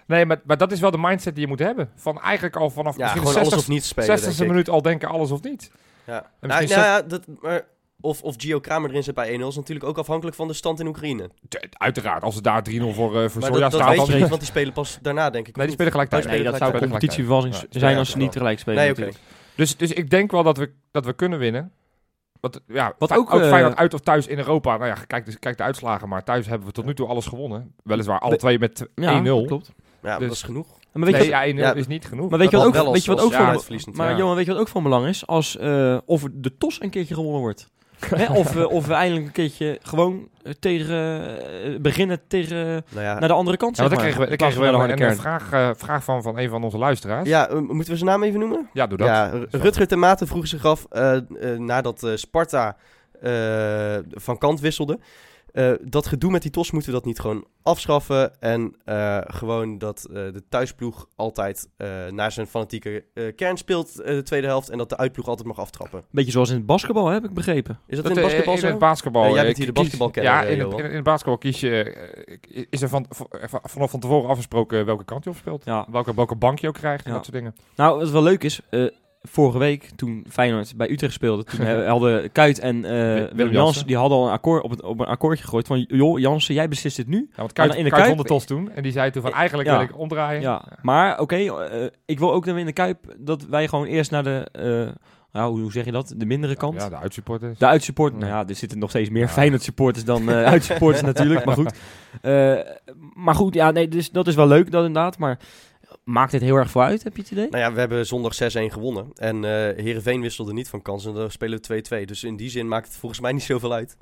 Speaker 3: nee maar, maar dat is wel de mindset die je moet hebben. Van eigenlijk al vanaf
Speaker 2: Ja, gewoon
Speaker 3: misschien
Speaker 2: alles of
Speaker 3: de
Speaker 2: niet spelen,
Speaker 3: 60,
Speaker 2: denk
Speaker 3: 60ste
Speaker 2: ik.
Speaker 3: minuut al denken alles of niet.
Speaker 2: Ja.
Speaker 3: En
Speaker 2: Nou,
Speaker 3: misschien
Speaker 2: nou ja, dat, maar of, of Gio Kramer erin zit bij 1-0 is natuurlijk ook afhankelijk van de stand in Oekraïne.
Speaker 3: T- Uiteraard, als het daar 3-0 voor, eh voor
Speaker 2: Maar
Speaker 3: Soja
Speaker 2: dat, dat
Speaker 3: staat,
Speaker 2: weet
Speaker 3: dan...
Speaker 2: je niet, want die spelen pas daarna, denk ik.
Speaker 3: Nee, die spelen gelijk
Speaker 2: Nee,
Speaker 3: thuis.
Speaker 4: Nee, dat zou
Speaker 3: Spelen
Speaker 4: een
Speaker 2: Spelen
Speaker 3: gelijk thuis.
Speaker 4: competitieverrassing
Speaker 3: Ja.
Speaker 4: zijn als ze niet
Speaker 2: Ja.
Speaker 4: tegelijk spelen.
Speaker 2: Nee, oké.
Speaker 4: natuurlijk.
Speaker 3: Dus, dus ik denk wel dat we, dat we kunnen winnen. Wat, ja,
Speaker 4: Wat
Speaker 3: Wat
Speaker 4: ook,
Speaker 3: ook,
Speaker 4: eh,
Speaker 3: Feyenoord uit of thuis in Europa. Nou ja, kijk, de- kijk de uitslagen. Maar thuis hebben we tot nu toe alles gewonnen. Weliswaar alle
Speaker 4: Be-
Speaker 3: twee met 1-0.
Speaker 4: Ja, dat klopt.
Speaker 2: Ja, maar
Speaker 3: Dus-
Speaker 2: dat is genoeg.
Speaker 4: Maar weet je,
Speaker 3: Nee,
Speaker 4: wat-
Speaker 3: ja, 1-0
Speaker 2: ja,
Speaker 3: is niet genoeg.
Speaker 4: maar weet je
Speaker 3: Dat-
Speaker 4: wat ook,
Speaker 2: wel als-
Speaker 4: weet je wat
Speaker 2: als
Speaker 4: ook voor
Speaker 2: Feyenoord verliest
Speaker 4: Maar
Speaker 3: Ja.
Speaker 4: Johan, weet je wat ook van belang is? Als eh, of de TOS een keertje gewonnen wordt. Hè? Of, we- of we eindelijk een keertje gewoon eh, tegen, eh, beginnen tegen,
Speaker 2: Nou ja,
Speaker 4: naar de andere kant,
Speaker 3: Ja,
Speaker 4: zeg
Speaker 3: want dan
Speaker 4: maar.
Speaker 3: kregen we, dan
Speaker 4: In plaats
Speaker 3: kregen we
Speaker 4: van
Speaker 3: een,
Speaker 4: naar de
Speaker 3: een
Speaker 4: harde kern.
Speaker 3: vraag, eh, vraag van, van een van onze luisteraars. Ja,
Speaker 2: ja, eh, moeten we zijn naam even noemen?
Speaker 3: doe dat.
Speaker 2: Ja, R- Rutger ten Maten vroeg zich af, eh, eh, nadat eh, Sparta eh, van kant wisselde, eh, dat gedoe met die tos moeten we dat niet gewoon afschaffen en eh, gewoon dat eh, de thuisploeg altijd eh, naar zijn fanatieke eh, kern speelt eh, de tweede helft en dat de uitploeg altijd mag aftrappen.
Speaker 4: Beetje zoals in het basketbal, hè, heb ik begrepen.
Speaker 2: Is dat,
Speaker 3: Dat,
Speaker 2: in
Speaker 3: eh,
Speaker 2: het basketbal
Speaker 3: in
Speaker 2: zo?
Speaker 3: het basketbal.
Speaker 2: Ja, jij
Speaker 3: eh,
Speaker 2: bent hier de
Speaker 3: kies-
Speaker 2: basketbalkenner,
Speaker 3: Ja,
Speaker 2: eh,
Speaker 3: in het,
Speaker 2: Johan.
Speaker 3: in, in het basketbal kies je... eh, Is er van, van- vanaf van tevoren afgesproken welke kant je op speelt?
Speaker 4: Ja.
Speaker 3: Welke, welke bank je ook krijgt en
Speaker 4: Ja.
Speaker 3: dat soort dingen.
Speaker 4: Nou, wat wel leuk is, eh, vorige week toen Feyenoord bij Utrecht speelde, toen he- hadden Kuit en eh, Willem Jansen,
Speaker 3: Jansen.
Speaker 4: die hadden al een akkoord op, het, op een akkoordje gegooid van, joh, Jansen, jij beslist dit nu.
Speaker 3: Ja, want
Speaker 4: Maar
Speaker 3: Kuit,
Speaker 4: dan in
Speaker 3: in
Speaker 4: de
Speaker 3: de
Speaker 4: Kuip-
Speaker 3: de tos toen. En die zei toen van
Speaker 4: Ja.
Speaker 3: eigenlijk wil ik omdraaien.
Speaker 4: Ja, maar oké, eh, ik wil ook dan weer in de Kuip dat wij gewoon eerst naar de, eh, nou, hoe- hoe zeg je dat, de mindere kant.
Speaker 3: Ja, de uitsupporters.
Speaker 4: De uitsupporters,
Speaker 3: Ja.
Speaker 4: nou ja, er zitten nog steeds meer
Speaker 3: Ja.
Speaker 4: Feyenoord supporters dan eh uitsupporters natuurlijk, maar goed. Eh, maar goed, ja, nee, dus dat is wel leuk dat inderdaad, maar Maakt dit heel erg voor uit, heb je het idee?
Speaker 2: Nou ja, we hebben zondag 6-1 gewonnen. En eh Heerenveen wisselde niet van kans en dan spelen we 2-2. Dus in die zin maakt het volgens mij niet zoveel uit.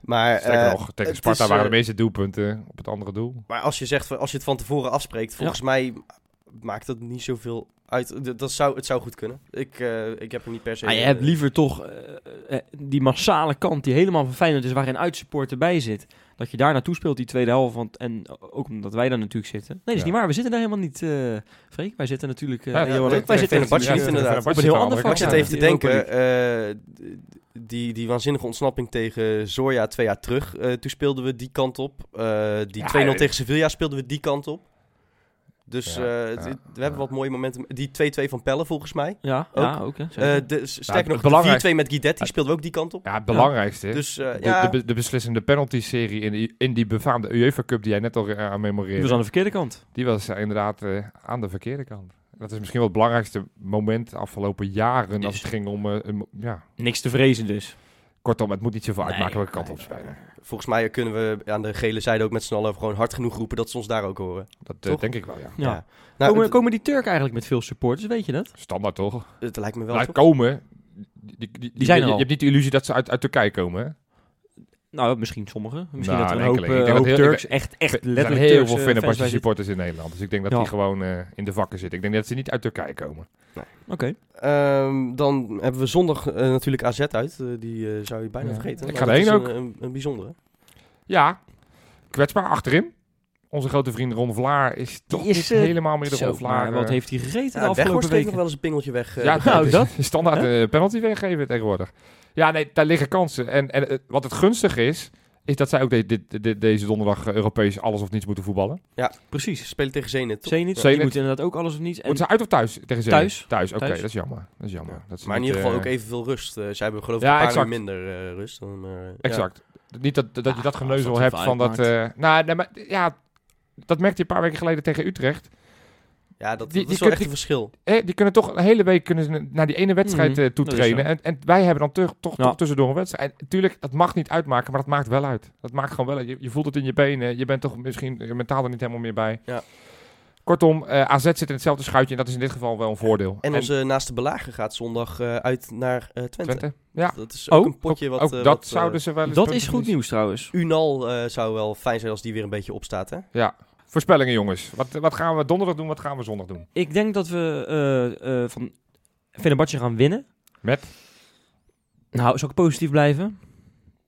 Speaker 2: Maar,
Speaker 3: Sterker
Speaker 2: eh,
Speaker 3: nog, tegen
Speaker 2: het
Speaker 3: Sparta
Speaker 2: is,
Speaker 3: waren
Speaker 2: eh,
Speaker 3: de meeste doelpunten op het andere doel.
Speaker 2: maar als, je zegt, van- als je het van tevoren afspreekt, volgens mij maakt dat niet zoveel uit. D- Dat zou, het zou goed kunnen. Ik, eh, ik heb er niet per
Speaker 3: Ah,
Speaker 2: se...
Speaker 4: Maar Nou, je
Speaker 2: eh,
Speaker 4: hebt liever toch eh, eh, die massale kant die helemaal van Feyenoord is, waarin uitsupporter erbij zit. Dat je daar naartoe speelt die tweede helft. Want, en ook omdat wij daar natuurlijk zitten. Nee, dat is
Speaker 3: Ja.
Speaker 4: niet waar. We zitten daar helemaal niet, eh Freek. Wij zitten natuurlijk... eh,
Speaker 3: Ja,
Speaker 4: eh, Johan,
Speaker 2: wij
Speaker 4: ook. wij
Speaker 2: zitten
Speaker 4: zitten
Speaker 2: in Fenerbahce
Speaker 4: natuurlijk,
Speaker 2: niet, inderdaad.
Speaker 4: Op een heel ander
Speaker 2: Ik
Speaker 4: vlak
Speaker 2: zit
Speaker 4: Ja,
Speaker 2: even te
Speaker 4: die Europa
Speaker 2: denken, eh, die, die waanzinnige ontsnapping tegen Zorja twee jaar terug, eh, toen speelden we die kant op. Eh, die
Speaker 3: Ja,
Speaker 2: 2-0
Speaker 3: eh,
Speaker 2: tegen Sevilla speelden we die kant op. Dus
Speaker 3: Ja,
Speaker 2: eh, het-
Speaker 3: ja,
Speaker 2: we hebben wat mooie momenten. Die 2-2 van Pelle volgens mij.
Speaker 4: eh, Ja,
Speaker 2: Ook.
Speaker 4: ja, ook. hè, zeker.
Speaker 2: Eh de, sterker
Speaker 3: het
Speaker 2: nog,
Speaker 3: belangrijk-
Speaker 2: de 4-2 met Guidetti speelden we ook die kant op.
Speaker 3: Ja, het belangrijkste.
Speaker 2: Dus eh,
Speaker 3: de,
Speaker 2: ja,
Speaker 3: de, be- de beslissende penalty-serie in, die- in die befaamde UEFA Cup die jij net al eh, aan
Speaker 4: Die
Speaker 3: memoreerde,
Speaker 4: was aan de verkeerde kant.
Speaker 3: die was eh, inderdaad eh, aan de verkeerde kant. Dat is misschien wel het belangrijkste moment de afgelopen jaren als
Speaker 4: Is-
Speaker 3: het ging om... eh, een- ja.
Speaker 4: Niks te vrezen dus.
Speaker 3: Kortom, het moet niet zoveel
Speaker 4: Nee,
Speaker 3: uitmaken welke kant
Speaker 4: nee,
Speaker 3: op spelen.
Speaker 2: volgens mij kunnen we aan de gele zijde ook met z'n allen gewoon hard genoeg roepen dat ze ons daar ook horen.
Speaker 3: Dat eh,
Speaker 2: Toch?
Speaker 3: denk ik wel, ja.
Speaker 4: Ja.
Speaker 2: Nou,
Speaker 4: komen,
Speaker 2: het,
Speaker 4: komen die Turken eigenlijk met veel supporters, weet je dat?
Speaker 3: Standaard toch?
Speaker 2: het lijkt me wel.
Speaker 3: Maar
Speaker 2: toch?
Speaker 3: komen... Die, die, die-
Speaker 4: zijn er
Speaker 3: je, je
Speaker 4: al.
Speaker 3: hebt niet de illusie dat ze uit, uit Turkije komen, hè?
Speaker 4: Nou, misschien sommigen. Misschien
Speaker 3: Nou,
Speaker 4: dat er een
Speaker 3: een
Speaker 4: hoop,
Speaker 3: enkeling. Ik
Speaker 4: eh,
Speaker 3: denk
Speaker 4: hoop
Speaker 3: dat heel- ik-
Speaker 4: Turks, echt, echt
Speaker 3: er zijn
Speaker 4: letterlijk
Speaker 3: heel
Speaker 4: Turkse
Speaker 3: veel
Speaker 4: fans bij
Speaker 3: Fenerbahce
Speaker 4: zitten.
Speaker 3: supporters in Nederland. Dus ik denk dat
Speaker 4: Ja.
Speaker 3: die gewoon eh, in de vakken zitten. Ik denk dat ze niet uit Turkije komen.
Speaker 4: Oké.
Speaker 2: Ehm, dan hebben we zondag eh, natuurlijk AZ uit. Eh, die eh, zou je bijna
Speaker 3: Ja.
Speaker 2: vergeten.
Speaker 3: Ik
Speaker 2: maar
Speaker 3: ga
Speaker 2: dat
Speaker 3: erheen
Speaker 2: is Een, een, een bijzondere.
Speaker 3: Ja, kwetsbaar achterin. Onze grote vriend Ron Vlaar is toch
Speaker 4: is,
Speaker 3: niet
Speaker 4: eh,
Speaker 3: helemaal meer de
Speaker 4: Zo,
Speaker 3: Ron Vlaar.
Speaker 4: maar wat
Speaker 3: eh,
Speaker 4: heeft hij gegeten de
Speaker 2: Ja, Weghorst
Speaker 4: afgelopen
Speaker 2: kreeg nog
Speaker 4: weken?
Speaker 2: wel eens een pingeltje weg. eh,
Speaker 3: ja,
Speaker 4: nou,
Speaker 3: nou,
Speaker 4: dat.
Speaker 3: dat is standaard eh, penalty weggeven tegenwoordig. Ja, nee, daar liggen kansen. En, en eh, wat het gunstig is, is dat zij ook de- dit- dit- deze donderdag eh, Europees alles of niets moeten voetballen.
Speaker 2: Ze
Speaker 4: Precies.
Speaker 2: spelen tegen Zenit. toch?
Speaker 4: Zenit, die
Speaker 3: Zenit.
Speaker 4: moet inderdaad ook alles of niets. En
Speaker 3: Moeten ze uit of thuis tegen Zenit?
Speaker 4: Thuis.
Speaker 3: Thuis, oké,
Speaker 4: Thuis.
Speaker 3: dat is jammer. Dat is jammer. Dat ze
Speaker 2: Maar in
Speaker 3: niet,
Speaker 2: ieder geval
Speaker 3: eh,
Speaker 2: ook evenveel rust. Eh, zij hebben geloof ik
Speaker 3: Ja,
Speaker 2: een paar
Speaker 3: exact.
Speaker 2: uur minder eh, rust. Dan, eh, ja.
Speaker 3: Exact. Niet dat, dat
Speaker 4: Ah,
Speaker 3: je dat
Speaker 4: als
Speaker 3: geneuzel
Speaker 4: dat
Speaker 3: hebt
Speaker 4: even
Speaker 3: van dat... eh, nou, nee, maar, ja, dat merkte je een paar weken geleden tegen Utrecht.
Speaker 2: Ja, dat,
Speaker 3: Die-
Speaker 2: dat is wel
Speaker 3: die kun-
Speaker 2: echt een verschil.
Speaker 3: Hè, die kunnen toch een hele week kunnen ze naar die ene wedstrijd
Speaker 4: Mhm,
Speaker 3: eh,
Speaker 4: dat is
Speaker 3: toetrainen.
Speaker 4: zo.
Speaker 3: En, en wij hebben dan toch, toch,
Speaker 4: Ja.
Speaker 3: toch tussendoor een wedstrijd. En natuurlijk, dat mag niet uitmaken, maar dat maakt wel uit. Dat maakt gewoon wel uit. Je, je voelt het in je benen. Je bent toch misschien eh, mentaal er niet helemaal meer bij.
Speaker 2: Ja.
Speaker 3: Kortom, eh, AZ zit in hetzelfde schuitje en dat is in dit geval wel een voordeel.
Speaker 2: En onze naaste belager gaat zondag eh, uit naar eh, Twente.
Speaker 3: Twente? Ja,
Speaker 2: Dat is ook
Speaker 4: Oh,
Speaker 2: een potje wat...
Speaker 3: ook
Speaker 2: eh,
Speaker 3: dat
Speaker 2: wat, eh,
Speaker 3: zouden ze wel eens
Speaker 4: dat
Speaker 3: punten
Speaker 4: is goed
Speaker 3: verliezen.
Speaker 4: nieuws trouwens.
Speaker 2: Unal eh, zou wel fijn zijn als die weer een beetje opstaat, hè?
Speaker 3: Voorspellingen jongens. Wat, wat gaan we donderdag doen, wat gaan we zondag doen?
Speaker 4: Ik denk dat we eh, eh, van Fenerbahce gaan winnen.
Speaker 3: Met?
Speaker 4: Nou, zou ik positief blijven?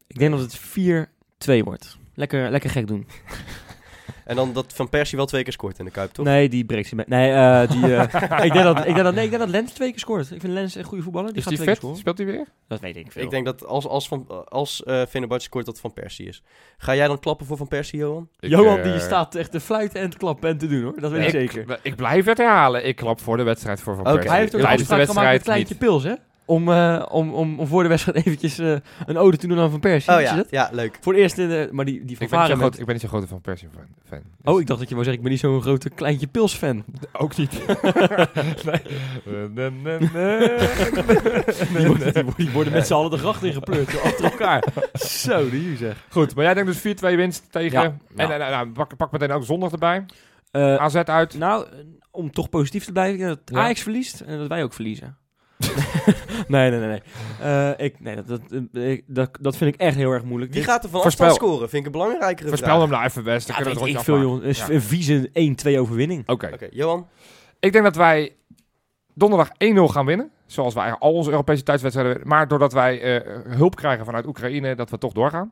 Speaker 4: Ik denk dat het 4-2 wordt. Lekker, lekker gek doen.
Speaker 2: En dan dat Van Persie wel twee keer scoort in de Kuip, toch?
Speaker 4: Nee, die breekt ze met. Nee, eh, die, eh, ik, denk dat, ik, denk dat, nee, ik denk dat Lens twee keer scoort. Ik vind Lens een goede voetballer. Die
Speaker 3: Is
Speaker 4: gaat
Speaker 3: die
Speaker 4: twee
Speaker 3: vet?
Speaker 4: keer scoren.
Speaker 3: Speelt hij weer?
Speaker 4: Dat weet ik veel.
Speaker 2: Ik denk dat als, als, van, als eh Fenerbahce scoort dat Van Persie is. Ga jij dan klappen voor Van Persie, Johan?
Speaker 3: Ik,
Speaker 4: Johan,
Speaker 3: eh,
Speaker 4: die staat echt te fluiten en te klappen en te doen hoor. Dat weet
Speaker 3: ik,
Speaker 4: ik zeker.
Speaker 3: Ik blijf het herhalen. Ik klap voor de wedstrijd voor Van
Speaker 2: Oké.
Speaker 3: Persie.
Speaker 4: Hij heeft ook een
Speaker 3: Tijdens de
Speaker 4: afspraak gemaakt met
Speaker 3: wedstrijd
Speaker 4: Kleintje
Speaker 3: niet.
Speaker 4: Pils, hè? Om, eh, om, om, om voor de wedstrijd eventjes eh, een ode te doen aan Van Persie.
Speaker 2: Oh
Speaker 4: Is
Speaker 2: ja,
Speaker 4: dat?
Speaker 2: ja leuk.
Speaker 4: Voor het eerst in de... Maar die, die van
Speaker 3: Ik ben, niet
Speaker 4: Varen...
Speaker 3: zo'n
Speaker 4: met-
Speaker 3: groot, ik ben niet zo'n grote Van Persie fan. fan. Dus-
Speaker 4: Oh, ik dacht dat je wou zeggen, ik ben niet zo'n grote Kleintje Pils fan.
Speaker 3: ook niet. nee. Nee, nee, nee.
Speaker 4: Die worden, die, worden- die worden met z'n allen de gracht ingepleurd, zo achter elkaar. Zo, die hier zeg.
Speaker 3: Goed, maar jij denkt dus 4-2 winst tegen...
Speaker 4: Ja,
Speaker 3: En,
Speaker 4: ja.
Speaker 3: en- en- nou, pak, pak meteen ook zondag erbij.
Speaker 4: Eh,
Speaker 3: AZ uit.
Speaker 4: nou, eh, om toch positief te blijven, ik denk dat
Speaker 3: Ah. Ja.
Speaker 4: Ajax verliest en dat wij ook verliezen. nee, nee, nee. nee. Eh, ik, nee dat, dat, eh, ik- dat, dat vind ik echt heel erg moeilijk.
Speaker 2: Wie
Speaker 4: Dit-
Speaker 2: gaat er van
Speaker 3: Voorspel.
Speaker 2: afstand scoren? Vind ik een belangrijkere
Speaker 3: Voorspel
Speaker 2: vraag.
Speaker 3: hem nou even best. Dan
Speaker 4: Ja,
Speaker 3: kunnen we
Speaker 4: weet
Speaker 3: het
Speaker 4: ik
Speaker 3: rondje
Speaker 4: veel,
Speaker 3: afmaken.
Speaker 4: jongen. Is
Speaker 3: Ja.
Speaker 4: Een vieze 1-2 overwinning.
Speaker 3: Oké.
Speaker 2: Oké, Johan.
Speaker 3: Ik denk dat wij donderdag 1-0 gaan winnen. Zoals wij al onze Europese thuiswedstrijden... Maar doordat wij eh, hulp krijgen vanuit Oekraïne, dat we toch doorgaan.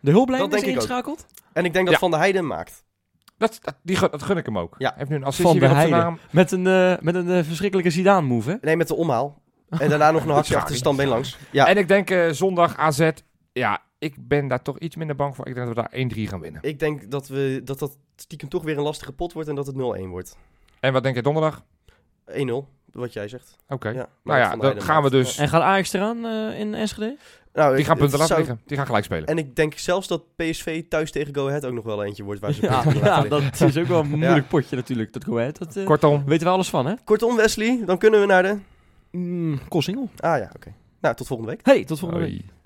Speaker 4: De hulplijn
Speaker 2: Dat
Speaker 4: is
Speaker 2: denk ik ook.
Speaker 4: ingeschakeld.
Speaker 2: En ik denk dat
Speaker 3: Ja.
Speaker 2: Van der Heijden hem maakt.
Speaker 3: Dat, dat, die, gun- dat gun ik hem ook.
Speaker 2: Ja.
Speaker 3: Hij heeft nu een
Speaker 4: Van
Speaker 3: assistie
Speaker 4: der
Speaker 3: weer op zijn
Speaker 4: Heijden.
Speaker 3: naam.
Speaker 4: Met een, eh, met een eh, verschrikkelijke Zidane-move, hè?
Speaker 2: Nee, met de omhaal. En daarna nog een hakje achter de standbeen langs. Ja,
Speaker 3: En ik denk eh, zondag AZ. Ja, ik ben daar toch iets minder bang voor. Ik denk dat we daar 1-3 gaan winnen.
Speaker 2: ik denk dat, we, dat dat stiekem toch weer een lastige pot wordt en dat het 0-1 wordt. 1-0,
Speaker 3: En wat denk je donderdag?
Speaker 2: wat jij zegt.
Speaker 3: Oké.
Speaker 2: Ja,
Speaker 3: Nou ja, dan gaan we dus...
Speaker 4: En gaat Ajax eraan eh, in Enschede?
Speaker 2: Nou,
Speaker 3: Die gaan punten laten liggen. Die gaan gelijk spelen.
Speaker 2: En ik denk zelfs dat PSV thuis tegen Go Ahead ook nog wel eentje wordt waar ze
Speaker 4: Ja,
Speaker 2: punten laten liggen.
Speaker 4: dat is ook wel een moeilijk potje natuurlijk, dat Go Ahead. Dat eh,
Speaker 3: Kortom,
Speaker 4: weten we alles van, hè?
Speaker 2: Kortom, Wesley, dan kunnen we naar de...
Speaker 4: Mm, Kossingel.
Speaker 2: Ah ja, oké. Nou, tot volgende week.
Speaker 4: Hey, tot volgende week.
Speaker 3: Hoi.